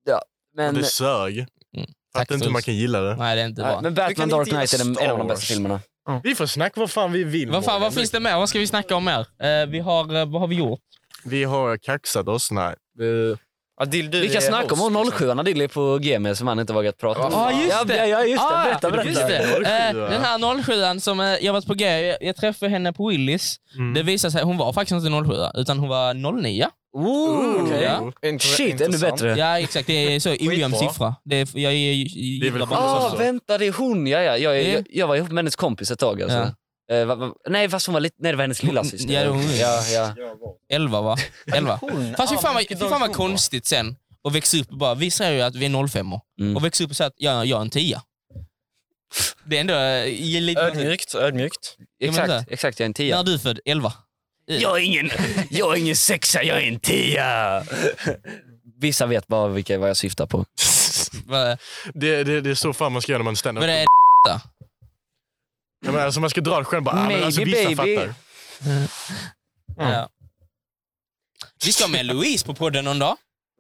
S2: Ja, men,
S6: Det sög.
S4: Tack,
S6: Fattar inte hur man kan gilla det.
S4: Nej, det är inte
S2: ja,
S4: bra.
S2: men
S3: Du kan
S2: Batman Dark
S3: inte
S2: Knight är
S3: gilla
S2: den, en av de
S3: Star Wars.
S2: bästa filmerna.
S6: Vi får snacka vad fan vi vill.
S4: Vad fan,
S6: Morgan.
S4: vad finns det mer? Vad ska vi snacka om mer? Eh, vi har, eh, vad har vi gjort?
S6: Vi har kaxat oss. Nej. Eh,
S3: Ja, dill, du
S2: Vi kan
S3: är
S2: snacka om
S3: ost,
S2: hon
S3: liksom.
S2: 07 Dilly på G med som han inte vågat prata om.
S4: Ja, just det.
S2: Ja, ja, just det.
S4: Ah,
S2: Berätta, berätta.
S4: Just det. Eh, den här 07 som eh, jag varit på G, jag, jag träffade henne på Willys.
S6: Mm.
S4: Det visade sig, hon var faktiskt inte 07 utan hon var 09.
S2: Ooh,
S4: okej.
S2: ja.
S6: Jo.
S3: Inter-
S2: Shit, ännu
S3: intressant.
S2: bättre.
S4: Ja exakt, det är så ojämn
S3: Skitbra.
S4: siffra. Det är, jag, jag, jag,
S5: Det är väl
S4: gillar bara
S5: skönt
S2: Ah,
S5: också.
S2: vänta, det är hon. Ja, ja. Jag,
S4: Ja.
S2: jag, jag var ihop med hennes kompis ett tag. Alltså. Eh, va, va, nej, fast hon var lite... Nej, det var hennes lilla syster.
S4: Ja, det var hon.
S2: ja, ja.
S4: 11 va? 11.
S3: Hon,
S4: Fast fy
S3: ja,
S4: fan vad, fy
S3: vilken
S4: fan vad
S3: dålig hon var.
S4: konstigt sen att växa upp och bara, vi säger ju att vi är 05
S2: Mm.
S4: och växa upp och säga att jag, jag är en 10 Det är ändå eh, ge lite...
S3: Ödmjukt, ödmjukt.
S4: men
S2: Exakt,
S4: vänta.
S2: exakt, jag är en tia.
S4: När är du född? 11?
S2: Jag är ingen, jag är ingen sexa, jag är en tia! Vissa vet bara vilka, vad jag syftar på.
S4: Va-
S6: Mm. Det, det, det är så fan man ska göra när man stannar
S4: Men
S6: upp.
S4: det är
S6: Ja, men alltså man ska dra det själv bara. ah, men alltså,
S2: Maybe,
S6: vissa
S2: baby.
S6: fattar. Mm.
S4: ja. Vi ska ha med Louise på podden någon dag.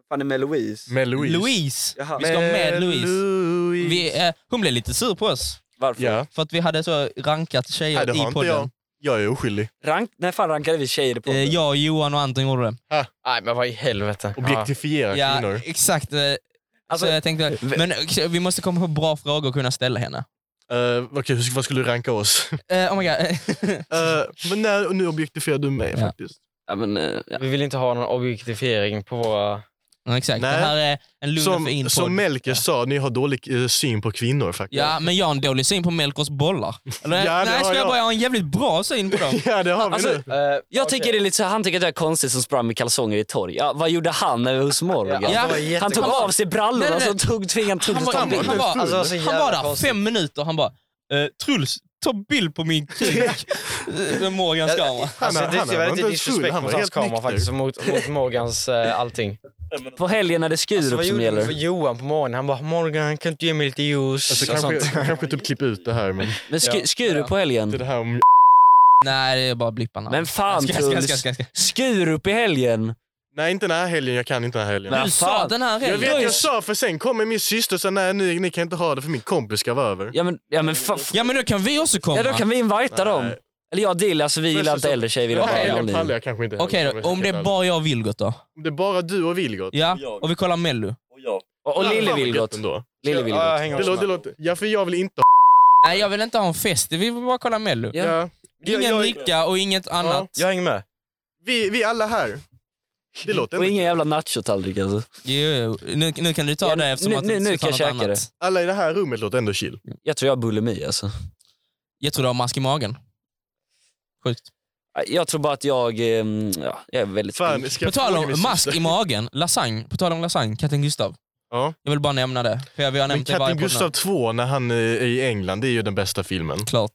S8: fan är med
S2: Mm.
S8: Louise?
S6: Med Louise.
S4: Louise.
S8: Jaha.
S4: Vi ska ha med Louise.
S5: Louise.
S4: Vi, eh, hon blev lite sur på oss
S2: Varför?
S6: Ja.
S4: för att vi hade så rankat
S6: Nej,
S4: tjejer
S6: det har
S4: i
S6: inte jag.
S4: podden.
S6: Jag är oskyldig.
S2: Rank, när fan rankade vi tjejer på?
S4: Jag. Eh, jag, Johan och Anton gjorde det.
S3: Nej, men vad i helvete.
S6: Objektifiera kvinnor.
S4: exakt. eh,
S2: Alltså-
S4: så jag tänkte, men eh, vi måste komma på bra frågor att kunna ställa henne.
S6: Uh, Okej, hur- vad skulle du ranka oss?
S4: Eh, oh my god.
S6: Eh, men nej, och nu objektifierar du mig
S4: Ja.
S6: faktiskt.
S2: Ja, men, eh, ja.
S3: Ja. Vi vill inte ha någon objektifiering på våra...
S4: Ja, exakt,
S6: Nej.
S4: det här är en lugn och fin
S6: Som, som
S4: podd.
S6: Melker sa, ni har dålig eh, syn på kvinnor faktiskt.
S4: Ja, men jag har en dålig syn på Melkers bollar. Eller,
S6: Ja, det
S4: nej,
S6: har
S4: ska jag
S6: jag.
S4: bara jag har en jävligt bra syn på dem.
S6: Ja, det har vi
S2: Alltså,
S6: nu.
S3: Eh,
S2: Jag
S3: okej.
S2: tycker det är lite så här, han tycker att jag är konstig som sprang med kalsonger i torg. Ja, vad gjorde han över hos Morgan?
S3: Ja, alltså,
S4: Ja,
S3: det var jätte-
S2: han tog av sig brallorna
S4: Nej,
S2: och
S4: nej,
S2: så tog, tvingade han
S4: Han
S2: Truls
S4: var,
S2: ta en
S4: han,
S2: bild.
S4: var, han,
S3: Alltså, det var så
S4: var, han
S3: jävla
S4: var där
S3: konstigt.
S4: fem minuter han bara eh, “Truls, ta bild på min kuk” med Morgans kamera.
S3: Alltså,
S6: Han-
S3: det
S6: han
S3: det var
S6: var
S3: lite
S6: inte ens full,
S3: disrespect
S6: han var
S3: mot hans
S6: helt
S3: kamera
S6: nykter.
S3: faktiskt, och mot, mot Morgans eh, allting.
S2: På helgen är det Skurup
S3: Alltså, vad
S2: som
S3: gjorde du för
S2: gäller.
S3: Johan på morgonen? Han bara “Morgan, kan inte ge mig lite juice?”
S6: Alltså,
S3: och sånt.
S6: kanske, kanske typ klipp ut det här, men
S2: Men sku,
S3: Ja.
S2: Skurup på
S6: det,
S2: helgen.
S6: det här om...
S4: Nej, det är bara blipparna.
S2: Men fan
S4: Ska- ska- ska-
S2: Truls.
S4: ska- ska-
S2: Skurup i helgen.
S6: Nej, inte den här helgen. Jag kan inte den här helgen.
S2: Nej.
S4: Du
S2: Vad
S4: sa
S2: fan?
S4: den här
S6: Jag vet,
S4: helgen.
S6: jag sa för sen kommer min syster och sa nej ni, ni kan inte ha det för min kompis ska vara över.
S2: Ja men, ja, men fan.
S4: Ja, men då kan vi också komma.
S2: Ja då kan vi invita dem.
S6: Nej.
S2: Eller jag och Dill, alltså vi gillar
S6: så-
S2: inte äldre tjejer. Vi
S6: Den
S2: gillar
S6: här
S2: bara
S6: helgen pallar
S2: anonym.
S6: jag kanske inte.
S4: Okej då, om det är bara jag och Vilgot då?
S6: Om det är bara du och Vilgot.
S4: Ja, och vi kollar Mello.
S2: Och, och Lille vill gott.
S6: Ändå.
S2: Lille vill
S3: Ja,
S2: gott.
S3: jag hänger
S6: Det
S3: också
S6: låter, det
S3: med.
S6: låter, ja för jag vill inte
S4: Nej, jag vill inte ha en fest. Vi vill bara kolla Mello.
S2: Ja.
S6: Ja.
S4: Ingen dricka och inget annat.
S3: Jag hänger med.
S6: Vi, vi alla här. Det låter
S2: Och
S6: inte.
S2: ingen jävla nachotallrik alltså.
S4: Jo, jo. Nu, nu kan du ta
S2: Ja,
S4: det eftersom
S2: nu-
S4: att du
S2: nu- nu
S4: inte
S2: kan
S4: ska ta
S2: jag
S4: något
S2: käka
S4: annat.
S6: Alla i det här rummet låter ändå chill.
S2: Jag tror jag har bulimi alltså.
S4: Jag tror du har mask i magen. Sjukt.
S2: Jag tror bara att jag, ehm, ja, jag är väldigt...
S6: Fan, ska
S4: På
S6: jag
S4: tal
S6: fråga
S4: om
S6: min
S4: mask
S6: syster?
S4: i magen, lasagne. På tal om lasagne, katten Gustav.
S6: Ja.
S4: Jag vill bara nämna det. För jag, vi har
S6: Men
S4: nämnt det i varje
S6: Katten
S4: podd
S6: Gustav 2 när han eh, är i England, det är ju den bästa filmen.
S4: nu. Klart.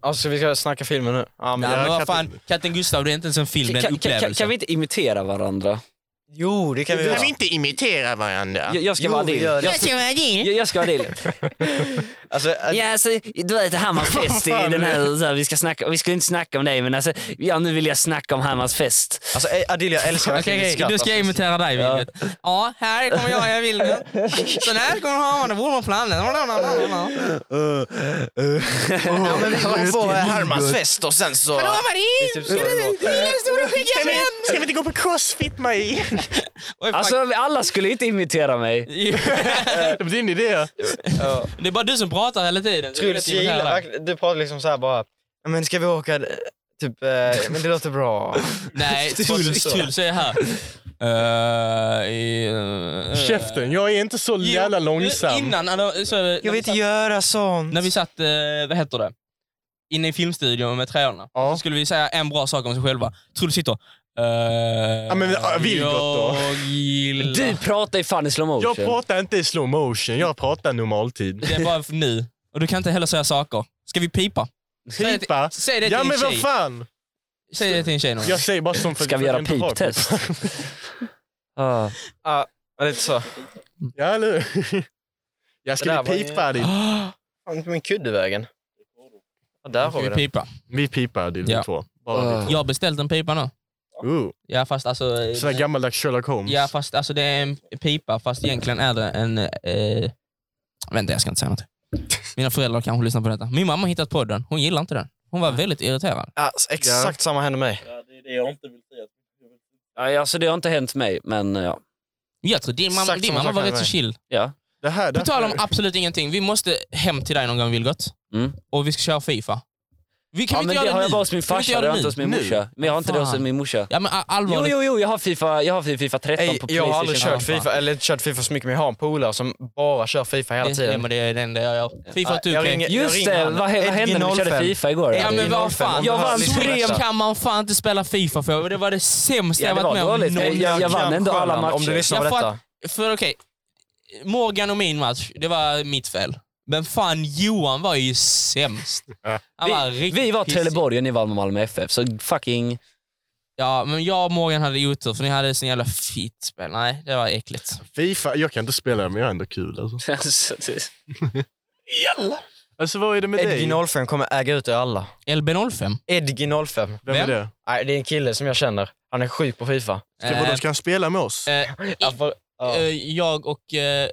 S3: Alltså vi ska snacka filmen nu. Ja, men,
S4: Nej,
S6: Ja,
S4: men vad
S6: Katten-
S4: fan, katten Gustav det är inte ens en film, det är en
S2: Kan, kan, kan,
S4: upplevelse.
S2: kan vi inte imitera varandra?
S3: Jo, det kan vi göra.
S5: inte imitera varandra?
S2: Jag, jag ska
S3: Jo,
S2: vara
S3: vi
S2: Adil.
S3: gör det.
S2: Jag, ska- jag, jag ska vara Adil.
S3: Alltså, eh,
S2: Ja, alltså, du vet Hammars fest i den här, så här vi, ska snacka, vi skulle inte snacka om dig men alltså, ja, nu vill jag snacka om Hammars fest.
S3: alltså eh, Adil, jag älskar
S4: Okej,
S3: verkligen ditt
S4: okej,
S3: skratt,
S4: då ska jag
S3: alltså.
S4: imitera dig
S2: Ja.
S4: Vilgot. Ja. här kommer jag, jag vill nu. Så här kommer han, det vore man planen.
S7: Ja, men vi var på eh, Hermans fest och sen så...
S4: Hallå Marie!
S3: Det är typ så det låter.
S5: Ska vi inte gå på crossfit Marie?
S4: Oj, fuck.
S2: Alltså alla skulle inte imitera mig.
S6: Det var din idé.
S3: Ja.
S4: det är bara du som pratar hela tiden. så
S3: Truls,
S4: jag
S3: jag
S4: vill
S3: gillar
S4: imitera dig.
S3: verkligen- Du pratar liksom så här bara, "Ja, men ska vi åka, eh, typ, eh, men det låter bra.
S4: Nej, Truls Truls är här. Eh, i, eh,
S6: Käften, jag är inte så
S4: Jo, eh,
S6: jävla långsam.
S4: Innan, när- så, när,
S3: Jag
S4: vi
S3: vill inte
S4: satt,
S3: göra sånt.
S4: när vi satt, eh, vad heter det, inne i filmstudion med treorna,
S6: Ja.
S4: så skulle vi säga en bra sak om sig själva. Truls sitter... Uh, ja,
S6: men, ja, Vilgot då.
S4: Jag gillar...
S2: Du pratar ju fan i slow motion.
S6: Jag pratar inte i slow motion, jag pratar normaltid.
S4: Det är bara för nu. Och du kan inte heller säga saker. Ska vi pipa? Säg det till-
S6: Pipa?
S4: Säg det till
S6: Ja
S4: en
S6: men vad
S4: tjej.
S6: fan!
S4: Säg det till en tjej någon
S6: Jag säger bara som för
S2: Ska vi
S6: för
S2: göra
S6: att jag inte har
S2: piptest?
S6: pip.
S2: Ah.
S3: Ja, lite så.
S6: Ja, eller hur? Jag
S3: Det
S6: ska
S3: där var
S6: vi
S3: ju-
S6: pipa Adil?
S4: gång.
S3: Fan, inte min kudde i vägen. Ja, där har
S4: Ska
S3: vi
S4: vi
S3: den.
S4: pipa?
S6: Vi pipar Adil,
S4: Ja.
S6: vi två. Bara vi
S4: Jag har beställt en pipa nu.
S6: två. Ooh.
S4: Ja fast alltså... eh,
S6: Sån här gammaldags Sherlock Holmes.
S4: Ja fast alltså det är en pipa fast egentligen är det en... Eh, vänta jag ska inte säga något. Mina föräldrar kanske lyssnar på detta. Min mamma har hittat podden. Hon gillar inte den. Hon var väldigt irriterad.
S3: Ja, alltså, exakt samma hände mig.
S2: Ja, alltså, det har inte hänt mig men ja.
S4: Jag tror din mamma,
S3: Exakt
S4: din
S3: samma
S4: mamma
S3: sak
S4: var
S3: hände
S4: rätt så
S3: mig.
S4: chill.
S2: Ja.
S6: Det här, det
S4: På tal om
S6: här-
S4: absolut ingenting, vi måste hem till dig någon gång Vilgot.
S2: Mm.
S4: Och vi ska köra Fifa. Vi kan
S2: ja
S4: vi
S2: men
S4: inte
S2: det
S4: göra
S2: har
S4: det
S2: jag bara
S4: nu?
S2: hos min
S4: Kan vi inte
S2: farsa,
S4: göra
S2: det har jag
S4: det
S2: inte hos min
S6: nu?
S2: morsa. Men jag har inte det hos
S4: Fan.
S2: min morsa.
S4: Ja men
S2: Jo,
S4: all- allvarligt.
S2: jo, jo, jag har Fifa, jag har Fifa 13
S3: Ey,
S2: på Playstation.
S3: jag har aldrig kört
S4: fan.
S3: Fifa, eller inte kört Fifa så mycket, men jag har en polare som bara kör Fifa hela
S4: det, ja,
S3: tiden.
S4: men det är det enda jag gör. Fifa
S3: Ja,
S4: och 2K.
S3: jag ringer-
S2: Just
S3: ringer
S2: det, vad,
S3: han.
S2: vad hände när vi körde
S3: 1G05?
S2: Fifa igår?
S4: Ja men vad fan.
S2: Jag vann
S4: Så
S2: tre-
S4: riktigt kan man fan inte spela Fifa för. Det var det sämsta
S2: Ja,
S4: jag
S2: det var
S4: varit med om.
S2: dåligt.
S4: någonsin.
S2: Jag- jag vann ändå alla matcher.
S3: Om du lyssnar på
S4: Jag fatt-
S3: detta.
S4: För okej, Morgan och min match, det var mitt fel. Men fan Johan var ju sämst. Han var
S2: Vi,
S4: riktigt
S2: vi var
S4: pissig.
S2: Trelleborg och ni vann med Malmö FF, så fucking...
S4: Ja, men jag och Morgan hade otur för ni hade sån jävla fit spel. Nej, det var äckligt.
S6: Fifa, jag kan inte spela det, men jag har ändå kul. Alltså, alltså vad är det med dig?
S3: Edgy 05 kommer äga ut er alla.
S4: LB05?
S3: Edgy 05.
S6: Vem är
S4: Vem?
S6: det?
S3: Nej, det är en kille som jag känner. Han är sjuk på Fifa.
S6: Ska, vadå, ska han spela med oss?
S4: Eh,
S3: Ja, för- ja.
S4: eh, jag och eh,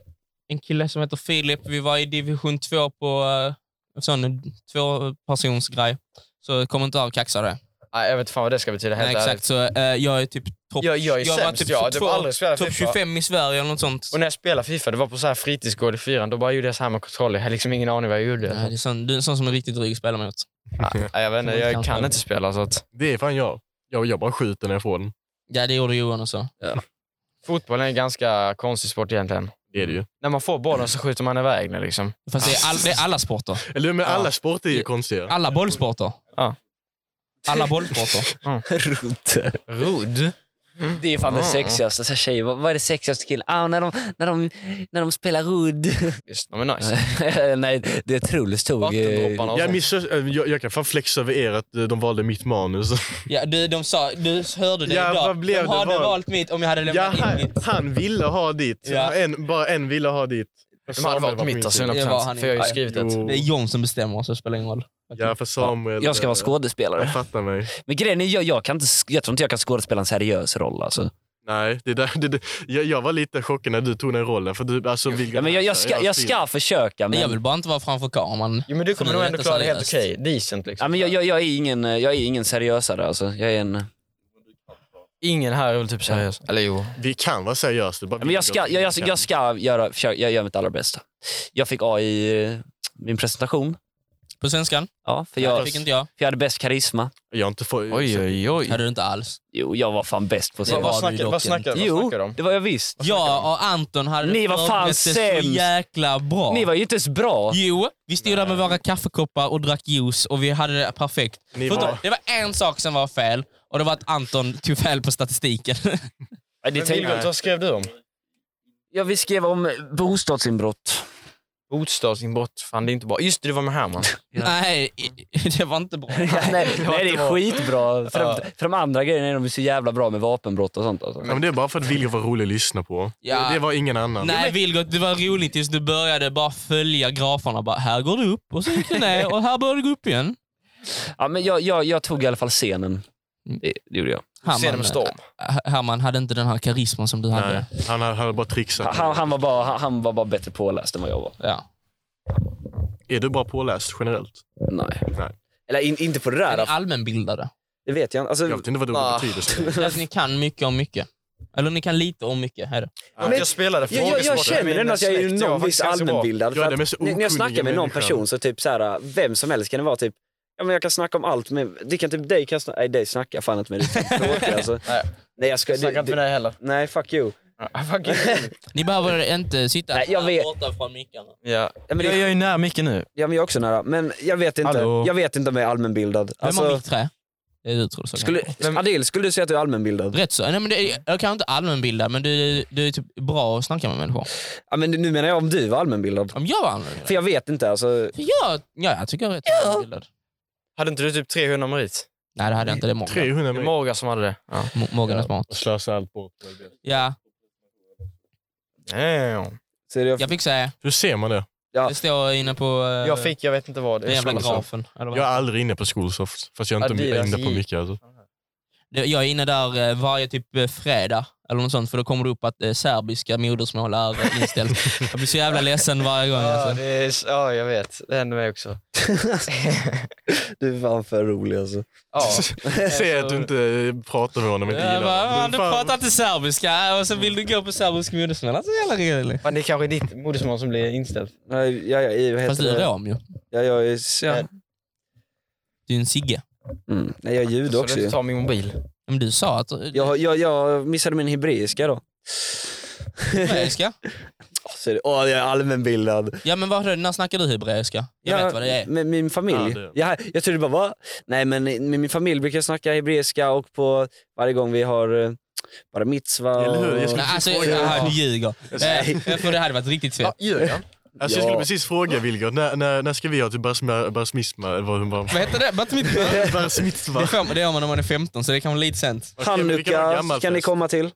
S4: en kille som heter Filip, vi var i division 2 på eh, en sån tvåpersonsgrej. Så kommer inte av kaxa det.
S3: Nej, jag vet fan vad det ska betyda helt
S4: Nej, exakt,
S3: ärligt.
S4: så eh, jag är typ topp
S3: Jag, jag är
S4: Jag var
S3: sämst,
S4: typ
S3: jag har typ
S4: två-
S3: aldrig spelat
S4: top
S3: Fifa.
S4: 25 i Sverige eller något sånt.
S3: Och när jag spelade Fifa, det var på så här fritidsgård i fyran, då bara gjorde jag så här med kontroll. Jag hade liksom ingen aning vad jag gjorde.
S4: Nej, det är sån, du är en sån som är riktigt dryg att spela mot.
S3: Nej, jag vet inte, jag kan inte spela så att...
S6: Det är fan jag. jag. Jag bara skjuter när jag får den.
S4: Ja, det gjorde Johan också.
S3: Fotboll är en ganska konstig sport egentligen.
S6: Det är det
S2: Mm.
S6: ju.
S3: När man får bollen så skjuter man iväg den liksom.
S4: Fast det är, all, det är alla sporter.
S6: Eller men alla
S3: Ja.
S6: sporter är ju konstiga.
S4: Alla bollsporter.
S3: Ja.
S4: Alla bollsporter.
S2: Rutte.
S3: Rudd?
S2: Det är fan det
S3: Mm.
S2: sexigaste. Så här, tjejer, vad, vad är det sexigaste killen? Ah, när, de, när, de, när de spelar rudd.
S3: Visst, de är nice.
S2: Nej, det Truls tog... eh,
S3: Vattendropparna och
S6: Jag,
S3: sånt.
S6: missar, eh, jag, jag kan fan flexa över er att eh, de valde mitt manus.
S4: Ja, du, de sa, du hörde det
S6: Ja,
S4: idag.
S6: vad blev
S4: de
S6: det
S4: hade
S6: val?
S4: valt mitt om jag hade
S6: Ja,
S4: lämnat in
S6: han,
S4: mitt.
S6: han ville ha dit.
S4: Ja.
S6: En, bara en ville ha dit.
S3: De hade varit mitt alltså, 100%.
S4: Det var han
S3: För jag har ju
S4: inte.
S3: skrivit det.
S6: Jo.
S4: Det är John som bestämmer, så det spelar ingen roll.
S6: Ja, för Samuel.
S2: Jag ska vara
S6: eh,
S2: skådespelare.
S6: Jag fattar mig.
S2: Men grejen är, jag, jag, kan inte, sk- jag tror inte jag kan skådespela en seriös roll. Alltså.
S6: Nej, det där, det, det, jag, jag var lite chockad när du tog den rollen. För du, alltså,
S2: Ja, men jag, jag, ska, jag ska försöka,
S4: Men jag
S2: men,
S4: vill bara inte vara framför kameran.
S3: Jo men du
S4: Som
S3: kommer
S4: är
S3: nog ändå
S4: rätt
S3: klara det helt
S4: seriöst.
S3: okej. Decent liksom.
S2: ja, men jag, jag, jag, är ingen, eh, jag är ingen seriösare. Alltså. Jag, är en,
S3: Ingen här är väl typ seriös? Eller jo.
S6: Vi kan vara seriösa. det är bara
S2: ja, men jag, ska, jag, jag,
S6: vi
S2: jag ska göra försök, jag gör mitt allra bästa. Jag fick A i eh, min presentation.
S4: På svenskan?
S2: Ja, för,
S4: Ja,
S2: jag,
S4: det fick inte jag.
S2: för jag hade bäst karisma.
S6: kan. Jag har inte fått...
S3: Oj oj oj.
S4: hade du inte alls.
S2: Jo, jag var fan bäst på
S4: Det
S2: scenen.
S4: var- du dock
S3: du
S2: Jo,
S3: om?
S2: det var jag visst.
S4: Jag och Anton hade
S2: Ni var fan
S4: förberett det så
S2: sämst.
S4: jäkla bra.
S2: Ni var ju inte ens bra.
S4: Jo, vi stod där med våra kaffekoppar och drack juice och vi hade det perfekt.
S6: Ni
S4: Förutom,
S6: var-
S4: Det var en sak som var fel och det var att Anton tog fel på statistiken.
S2: Ja, det tänkte-
S3: Vilgot, vad skrev du om?
S2: Ja, vi skrev om bostadsinbrott.
S3: Bostadsinbrott. Fan det är inte bra. Just det, du var med Herman.
S4: Nej, det var inte bra.
S2: Ja, nej, nej, det är
S3: bra.
S2: skitbra. För,
S3: Ja.
S2: de, för de andra grejerna är de så jävla bra med vapenbrott och sånt. Alltså.
S6: Ja, men det är bara för att Vilja var rolig att lyssna på.
S4: Ja.
S6: Det var ingen annan.
S4: Nej Vilgot, det var roligt tills du började bara följa graferna. Bara, här går det upp och så gick det ner och här började det gå upp igen.
S2: Ja, men jag, jag, jag tog i alla fall scenen. Det, det gjorde jag.
S3: Se det med storm.
S4: eh, Herman hade inte den här karisman som du hade.
S6: Nej, han har, han har bara trixat.
S2: Han, han, var bara, han, han var bara bättre påläst än vad jag var.
S4: Ja.
S6: Är du bra påläst generellt?
S2: Nej.
S6: Nej.
S2: Eller in, inte på det
S4: Ni
S2: där. alltså.
S4: är Allmänbildade.
S2: Det vet jag inte. Alltså,
S6: Jag vet inte vad det ordet
S3: Ah.
S6: betyder. så.
S4: Alltså, ni kan mycket om mycket. Eller ni kan lite om mycket. Här.
S2: Men-
S3: jag spelade
S2: jag, jag, jag
S3: frågesport med
S2: känner
S3: min
S2: ändå att jag är
S3: släkt. Jag var
S2: någon viss
S3: faktiskt ganska bra.
S2: allmänbildad.
S6: Ja,
S2: för
S6: det är
S2: att
S6: mest
S2: när när
S6: okunniga
S2: jag snackar med någon
S6: människan.
S2: person så typ så här, vem som helst kan det vara typ Ja, men jag kan snacka om allt, men det kan typ dig kan jag snacka... Nej, dig snackar jag fan inte med. Det är tråkigt, alltså.
S3: Nej.
S2: Nej, jag ska...
S3: Jag snackar
S2: Det,
S3: inte med
S2: det,
S3: dig heller.
S2: nej, fuck you.
S3: Ah, fuck you.
S4: Ni behöver inte sitta
S2: Nej, jag
S4: här
S2: vet.
S4: borta från mickarna.
S3: Ja.
S2: Ja, men det,
S3: Jag jag är ju nära mycket nu.
S2: Ja, men jag är också nära. Men jag vet inte,
S3: Hallå?
S2: jag vet inte om jag är allmänbildad.
S4: Vem har
S2: Alltså,
S4: mitt trä? Det är du tror jag.
S2: skulle, Adil, skulle du säga att du är allmänbildad?
S4: Rätt så. Nej, men det är, jag kan inte allmänbilda, men du, du är typ bra att snacka med människor.
S2: Ja, men nu menar jag om du var allmänbildad.
S4: Om jag var allmänbildad?
S2: För jag vet inte. Alltså,
S4: För jag, ja, jag tycker jag är rätt allmänbildad.
S3: Hade inte du typ 300 merit?
S4: Nej, det hade jag inte. Det är Morgan.
S6: 300
S3: Det är
S6: meter.
S3: Morgan som hade det. Ja.
S4: Mo- Morgan är smart.
S6: Slösa allt bort.
S4: Ja,
S3: Damn.
S2: så är det,
S4: jag fick säga.
S6: Hur ser man det?
S2: Ja.
S4: Det står inne på eh,
S3: Jag fick, jag vet inte vad.
S4: den jävla
S3: Skolsoft.
S4: grafen. Eller vad?
S6: Jag är aldrig inne på Skolsoft. Fast jag är inte
S3: Adidas
S6: inne på
S3: gick.
S6: mycket. Alltså.
S4: Det- Jag är inne där eh, varje typ eh, fredag. Eller något sånt, för då kommer det upp att eh, serbiska modersmål är eh, inställt. jag blir så jävla ledsen varje gång.
S3: Ja,
S4: Alltså.
S3: det är, s- ja, jag vet. Det händer mig också.
S2: Du är fan för rolig alltså.
S3: Ja.
S6: Säg att du inte pratar med honom, inte
S4: Jag
S6: gillar
S4: bara,
S6: honom.
S4: "Fan, Du pratar inte serbiska och så vill du gå på serbisk modersmål. Alltså jävla roligt.
S3: Men det är kanske ditt modersmål som blir inställt.
S2: Nej, jag, jag, jag, vad
S4: Fast
S2: heter
S4: du är
S2: det?
S4: rom ju.
S2: Ja, jag är... Ja.
S4: Du är en Sigge.
S2: Mm. Nej, jag är jude
S3: Så
S2: också
S3: du
S2: ju.
S3: inte tar min mobil.
S4: Men du sa att...
S2: Jag, jag, jag missade min hebreiska då.
S4: Hebreiska?
S2: Så är det- Åh, jag är allmänbildad.
S4: Ja men vadå, när snackar du hebreiska? Jag
S2: Ja,
S4: vet vad det är.
S2: Med min familj.
S6: Ja, det-
S2: jag, jag trodde bara, va? Nej, men med min familj brukar jag snacka hebreiska och på varje gång vi har eh, bara mitzva
S6: Eller hur? Jag
S2: och...
S6: skulle-
S4: Nej, alltså,
S6: Oj,
S4: ja, du ljuger.
S2: Nej.
S4: Eh, För det hade varit riktigt fett.
S6: Alltså, jag skulle precis fråga Vilgot, när, när, när ska vi ha typ barsma- barsmisma? eller vad- vad-
S4: Vad heter det? Batmitt? Det
S6: Barsmitzva?
S4: får man- det gör man när man är 15, så det kan vara lite sent.
S6: Okej, men vi kan ha en
S2: Hanukka
S6: gammal
S2: kan ni
S6: fest.
S2: komma till.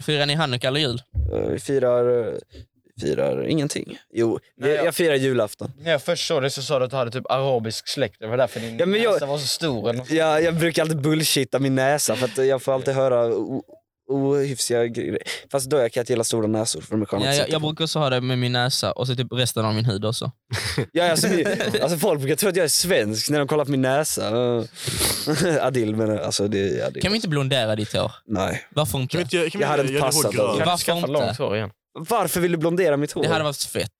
S4: Firar ni hanukka eller jul?
S2: Eh, Vi firar, eh, firar ingenting. Jo, vi,
S3: Nej, ja.
S2: jag firar julafton.
S3: När jag först såg dig så sa du att du hade typ arabisk släkt. Det var därför din
S2: Ja,
S3: ja,
S2: men jag-
S3: näsa var så stor. eller något.
S2: Jag, jag brukar alltid bullshitta min näsa för att jag får alltid höra o- ohyfsiga grejer. Fast då jag kan jag inte gilla stora näsor för de är sköna
S4: Ja,
S2: att
S4: jag,
S2: sitta
S4: jag
S2: på.
S4: brukar också ha det med min näsa och så typ resten av min hud också.
S2: Ja, alltså, min- alltså folk brukar tro att jag är svensk när de kollar på min näsa. Eh, Adil men alltså det är Adil.
S4: Kan vi inte blondera ditt hår?
S2: Nej.
S4: Varför
S6: Kan vi
S4: inte?
S6: inte göra- kan vi
S2: Jag hade
S6: inte
S2: inte
S6: göra det
S2: passat
S6: hårdgrönt?
S2: alltså.
S3: Kan du
S4: varför
S3: skaffa
S4: inte?
S3: långt hår igen?
S2: Varför vill du blondera mitt hår?
S4: Det hade varit fett.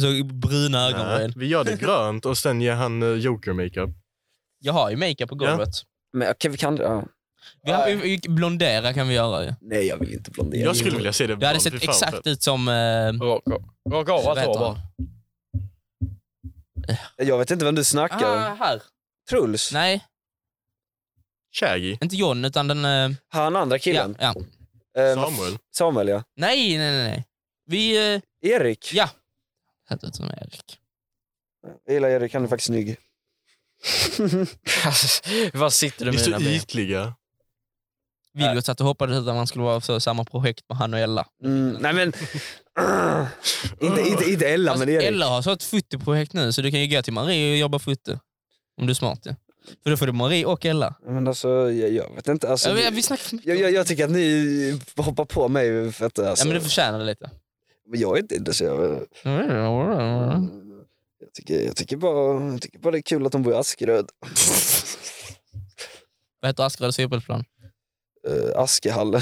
S4: Så bruna ögonbryn.
S6: Nej, Vi gör det grönt och sen ger han eh, joker makeup.
S4: Jag har ju makeup på golvet.
S2: Men okej, vi kan... Ja.
S4: Vi har, vi- vi, blondera kan vi göra ju.
S2: Nej, jag vill inte blondera.
S6: Jag skulle vilja se det
S4: Det hade
S6: blont,
S4: sett
S6: fy fan,
S4: exakt
S6: fett.
S4: ut som... Eh,
S3: Raka raka av
S4: vad
S3: allt
S4: heter
S3: hår
S4: han?
S3: bara.
S2: Jag vet inte vem du snackar om.
S4: Ah, här.
S2: Truls?
S4: Nej,
S6: Shaggy?
S4: inte John utan den... Eh,
S2: Han andra
S4: ja,
S2: killen?
S4: ja.
S2: Eh, vad f-
S6: Samuel?
S2: Samuel ja.
S4: Nej, nej, nej, nej. Vi... Eh,
S2: Erik?
S4: Ja. hette ut som Erik.
S2: Jag gillar Erik, han är faktiskt snygg.
S3: Alltså, Vad sitter du
S6: Ni är
S3: med dina
S6: så
S3: ben?
S6: ytliga.
S4: Vilgot satt och hoppades att man skulle vara så, samma projekt med han och Ella.
S2: Mm, nej men... inte, inte, inte Ella,
S4: Fast
S2: men Erik.
S4: Alltså, Ella har så ett fotoprojekt nu, så du kan ju gå till Marie och jobba foto. Om du är smart ja. För då får du Marie och Ella.
S2: Men alltså, jag, jag vet inte. Alltså,
S4: Ja, vi,
S2: jag,
S4: vi snackar för mycket.
S2: jag, jag tycker att ni hoppar på mig för att...
S4: ja,
S2: Alltså,
S4: men du förtjänar det lite.
S2: Jag är inte intresserad. av det.
S3: Mm.
S2: Jag tycker, jag, tycker bara, jag tycker bara det är kul att de bor i Askeröd.
S4: Vad heter Askeröds fotbollsplan?
S2: Uh, Askehallen.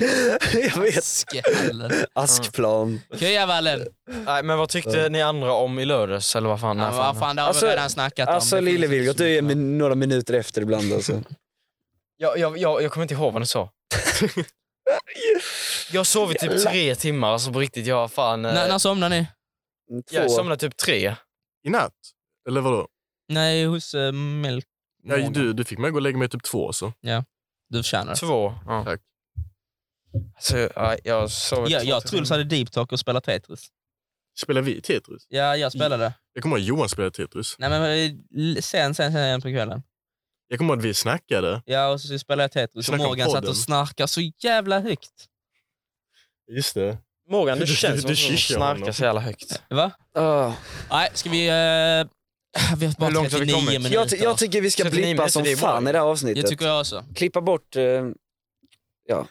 S2: jag vet.
S4: Askehallen.
S2: Askplan.
S4: Kujavallen.
S3: Nej, men vad tyckte ni andra om i lördags? Eller vad fan?
S4: Ja,
S3: när
S4: men Vad fan, det har
S2: Alltså-
S4: vi redan snackat om.
S2: Alltså
S4: Det finns
S2: lille
S4: inte så
S2: Vilgot, du är
S4: mycket mer.
S2: min, några minuter efter ibland alltså.
S3: Jag, jag, jag, jag kommer inte ihåg vad ni sa. jag har sovit typ tre timmar, alltså på riktigt. Jag har fan... eh,
S4: När, när somnar ni?
S2: Två.
S3: jag somnade typ tre.
S6: I natt? Eller vadå?
S4: Nej, hos äh, Melk.
S6: Ja, du, du fick mig gå och lägga mig typ två så.
S4: Du förtjänar det.
S3: Två. Ja.
S6: Tack.
S3: Alltså, ja, jag har sovit
S4: Jag,
S3: två
S4: jag
S3: timmar.
S4: Truls hade deep talk och spelade Tetris.
S6: Spelar vi Tetris?
S4: Ja, jag spelade.
S6: Jag kommer ihåg att Johan spelade Tetris.
S4: Nej, men eh, sen, sen, sen på kvällen.
S6: Jag kommer ihåg att vi snackade.
S4: Ja, och så spelade jag Tetris och
S6: Snacka om
S4: Morgan satt
S6: podden.
S4: och snarkade så jävla högt.
S6: Just det.
S3: Morgan, du
S6: Du-
S3: känns som
S6: du
S3: att du
S6: kikar
S3: snarkar
S6: honom.
S3: så jävla högt.
S4: Va?
S2: Ah.
S4: Nej, ska vi... eh, vi har
S3: Hur
S4: bara
S3: långt har vi
S4: 39
S3: kommit?
S4: minuter.
S2: Jag, ty- jag tycker vi ska
S3: 39
S2: blippa som
S3: minuter, det är bra.
S2: fan i det här avsnittet.
S4: Det tycker jag också.
S2: Klippa bort... Eh, jag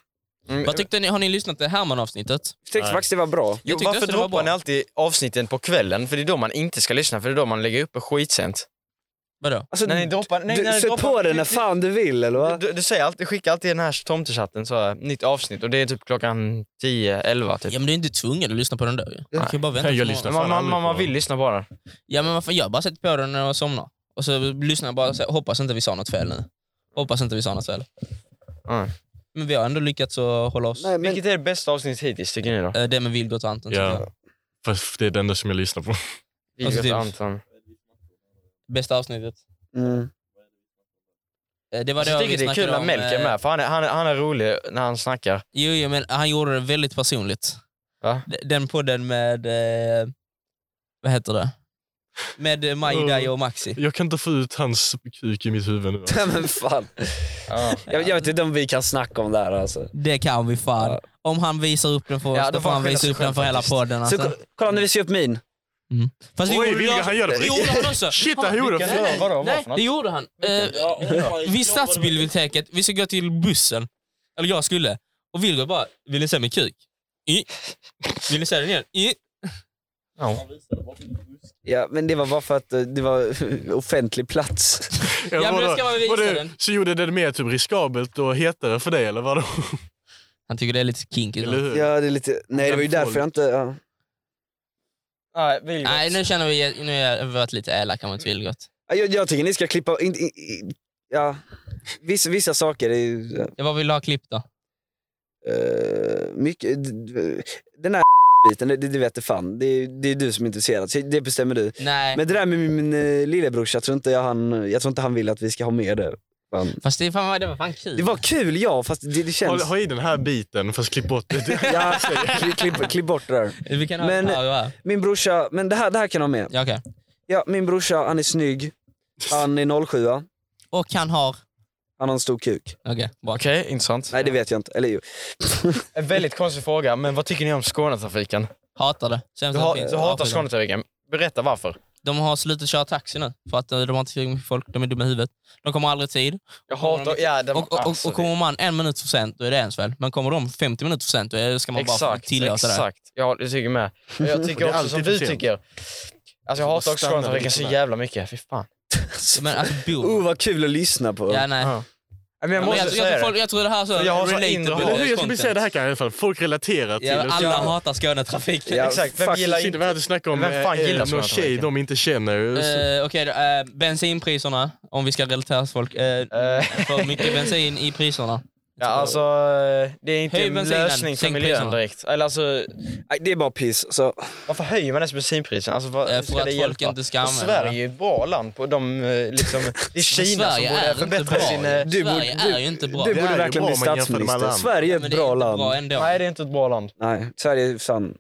S3: Mm,
S4: Vad tyckte ni? Har ni lyssnat till Herman-avsnittet?
S2: tyckte
S6: Nej.
S2: faktiskt det var bra.
S3: Jo,
S4: Jag tyckte
S3: varför
S4: också det var
S3: droppar
S4: bra.
S3: ni alltid avsnitten på kvällen? För det är då man inte ska lyssna, för det är då man lägger upp skitsent.
S4: Vadå?
S2: Alltså,
S3: När ni droppar... Nej,
S2: du,
S3: när ni
S2: sätt
S3: droppar-
S2: på den när fan du vill eller va?
S3: Du, du säger alltid, skickar alltid i den här tomtechatten så här, nytt avsnitt och det är typ klockan 10-11 typ.
S4: Ja, men du är inte tvungen att lyssna på den då. ju. Du kan ju bara vänta.
S6: Nej, jag
S4: till
S6: lyssnar.
S4: morgon.
S6: fan
S3: Man,
S6: aldrig
S3: man, man, man
S6: på.
S3: vill lyssna på den.
S4: Ja, men varför? Jag bara sätter på den när jag somnar. Och så lyssnar jag bara och säger, hoppas inte vi sa något fel nu. Hoppas inte vi sa något fel.
S3: Mm.
S4: Men vi har ändå lyckats att hålla oss...
S2: Nej, men,
S3: Vilket är det bästa avsnittet hittills tycker ni då?
S4: Eh, Det med Vilgot och Anton. tycker jag.
S6: Ja. Fast det är det enda som jag lyssnar på.
S3: Vilgot
S4: typ-
S3: och Anton.
S4: Bästa avsnittet.
S2: mm.
S4: Eh, Det var
S3: Alltså, Jag
S4: det vi
S3: tycker det är
S4: snackade
S3: kul att
S4: om,
S3: Melk är
S4: eh,
S3: med, för han är, han, är, han är rolig när han snackar.
S4: Jo, jo, men han gjorde det väldigt personligt.
S3: Va?
S4: D- Den podden med... Eh, vad heter det? Med eh,
S6: Oh.
S4: Majdaj och Maxi.
S6: Jag kan inte få ut hans kuk i mitt huvud nu.
S2: Nej, men fan.
S3: Ja.
S2: Jag, jag vet inte om vi kan snacka om det här alltså.
S4: Det kan vi fan.
S2: Ja.
S4: Om han visar upp den för oss,
S3: Ja,
S4: då får han
S3: skylla
S4: visa
S3: sig
S4: upp den
S3: själv
S4: för hela
S3: faktiskt.
S4: podden.
S2: Så,
S4: Alltså.
S2: ko- kolla nu, vi ser upp min.
S4: Fast det
S6: Oj,
S4: gjorde
S6: Vilga,
S4: jag-
S6: han gör det på
S4: Det gjorde han också.
S6: Shit, han gjorde det!
S3: Nej, vadå,
S4: Nej, det gjorde han. Eh, vid stadsbiblioteket, vi ska gå till bussen. Eller jag skulle. Och Vilgot bara, vill ni se min kuk? I. Vill ni se den igen? I.
S2: Ja, men det var bara för att eh, det var offentlig plats.
S4: Ja, men då ska man visa
S6: vadå,
S4: den.
S6: Så gjorde det mer typ riskabelt och hetare för dig eller vadå?
S4: Han tycker det är lite kinky.
S6: Eller
S4: så.
S6: hur?
S2: Ja, det är lite... Nej, det var ju därför jag inte... Ja.
S3: Nej, Vilgot.
S4: Nej, nu känner vi, nu har jag varit lite elaka mot Vilgot.
S2: Ja, Jag, jag tycker ni ska klippa... In, in, in, ja. vissa, vissa saker är ju...
S4: Ja, vad vill du ha klipp då?
S2: eh, mycket... d- d- Den här biten, det, det vet du fan. Det, är- det är du som är intresserad, så det bestämmer du.
S4: Nej,
S2: Men det där med min, min eh, lillebrorsa, jag tror, inte jag, han, jag tror inte han vill att vi ska ha med det. Fan.
S4: fast det, fan, det var fan kul.
S2: Det var kul, ja, fast det, det
S6: Håll,
S2: känns...
S6: ha i den här biten fast klipp bort det.
S2: Ja, klipp, klipp, klipp bort det där.
S4: Vi kan ha
S2: Men-
S4: men... det här och här.
S2: Min brorsa, men det här, det här kan jag ha med.
S4: Ja, okej.
S2: Ja, min brorsa, han är snygg. Han är 07 Han
S4: Och han har...
S2: har en stor kuk.
S4: Okej, bra.
S7: Okej, intressant.
S2: Nej, det vet jag inte. Eller jo.
S3: En väldigt konstig fråga, men vad tycker ni om Skånetrafiken?
S4: Hatar det. Sämst
S3: Du,
S4: att
S3: ha,
S4: det finns.
S3: du
S4: Ja,
S3: hatar
S4: skit.
S3: Skånetrafiken. Berätta varför.
S4: De har slutat köra taxi nu, för att eh, de har inte tillräckligt med folk. De är dumma i huvudet. De kommer aldrig i tid.
S3: Jag
S4: hatar-
S3: Ja, det,
S4: Och, och, och, och kommer man en minut för sent, då är det ens fel. Men kommer de 50 minuter för sent, då är- ska man bara
S3: exakt,
S4: tillåta det.
S3: exakt. Ja, det tycker jag med. Men Jag
S6: är
S3: tycker också
S6: alltid
S3: som
S6: för
S3: du
S6: sent.
S3: tycker. Alltså jag
S6: Så
S3: hatar
S6: bara
S3: också
S6: stannar
S3: Skånetrafiken så
S6: lite där.
S3: jävla mycket. Fy fan.
S4: Men alltså,
S2: Oh,
S4: boom.
S2: vad kul att lyssna på.
S4: Ja, nej.
S3: Men jag
S4: Men
S3: måste
S4: jag,
S3: säga
S4: jag,
S3: det.
S4: tror folk, jag tror det här är så
S3: Jag har så
S4: relatable
S3: inre hat.
S6: Eller hur? Jag skulle vilja
S4: content.
S6: säga det här kan i alla fall folk relatera till.
S4: Ja,
S6: och så-
S4: alla hatar Skånetrafik.
S2: Ja,
S3: Exakt, vem
S2: fuck,
S3: gillar
S6: Shit, Vi hade snackat om
S3: Vem fan
S6: eh,
S3: gillar
S6: någon
S3: sådana
S6: tjej
S3: saker?
S6: de inte känner. Så-
S4: Eh, Okej, då, eh, bensinpriserna, om vi ska relatera till folk. Eh,
S3: Eh,
S4: för mycket bensin i priserna.
S3: Ja, alltså, eh, det är inte
S4: Höj
S3: en
S4: bensinen,
S3: lösning för
S4: sänk
S3: miljön
S4: priserna.
S3: direkt. Eller alltså,
S2: Nej, det är bara piss. Så.
S3: varför höjer man ens bensinpriserna? Alltså, vad,
S4: Eh,
S3: hur
S4: för
S3: ska
S4: att
S3: det
S4: folk
S3: hjälpa?
S4: inte ska
S3: Och
S4: använda
S3: Sverige
S4: det.
S3: är ju ett bra land. På de, eh, liksom, det är Kina som
S4: Sverige
S3: borde
S4: är inte
S3: förbättra
S4: bra.
S3: sin... eh,
S2: Du
S4: Sverige
S2: borde-
S4: är ju inte bra.
S2: Du
S6: Det är
S2: borde
S6: ju bra
S2: verkligen bli
S6: om man jämför med alla
S2: statsminister.
S6: andra.
S2: Sverige är ett
S4: Men det
S2: bra
S4: är inte bra
S2: land.
S4: ändå.
S3: Nej, det är inte ett bra land.
S2: Nej, Sverige är fan...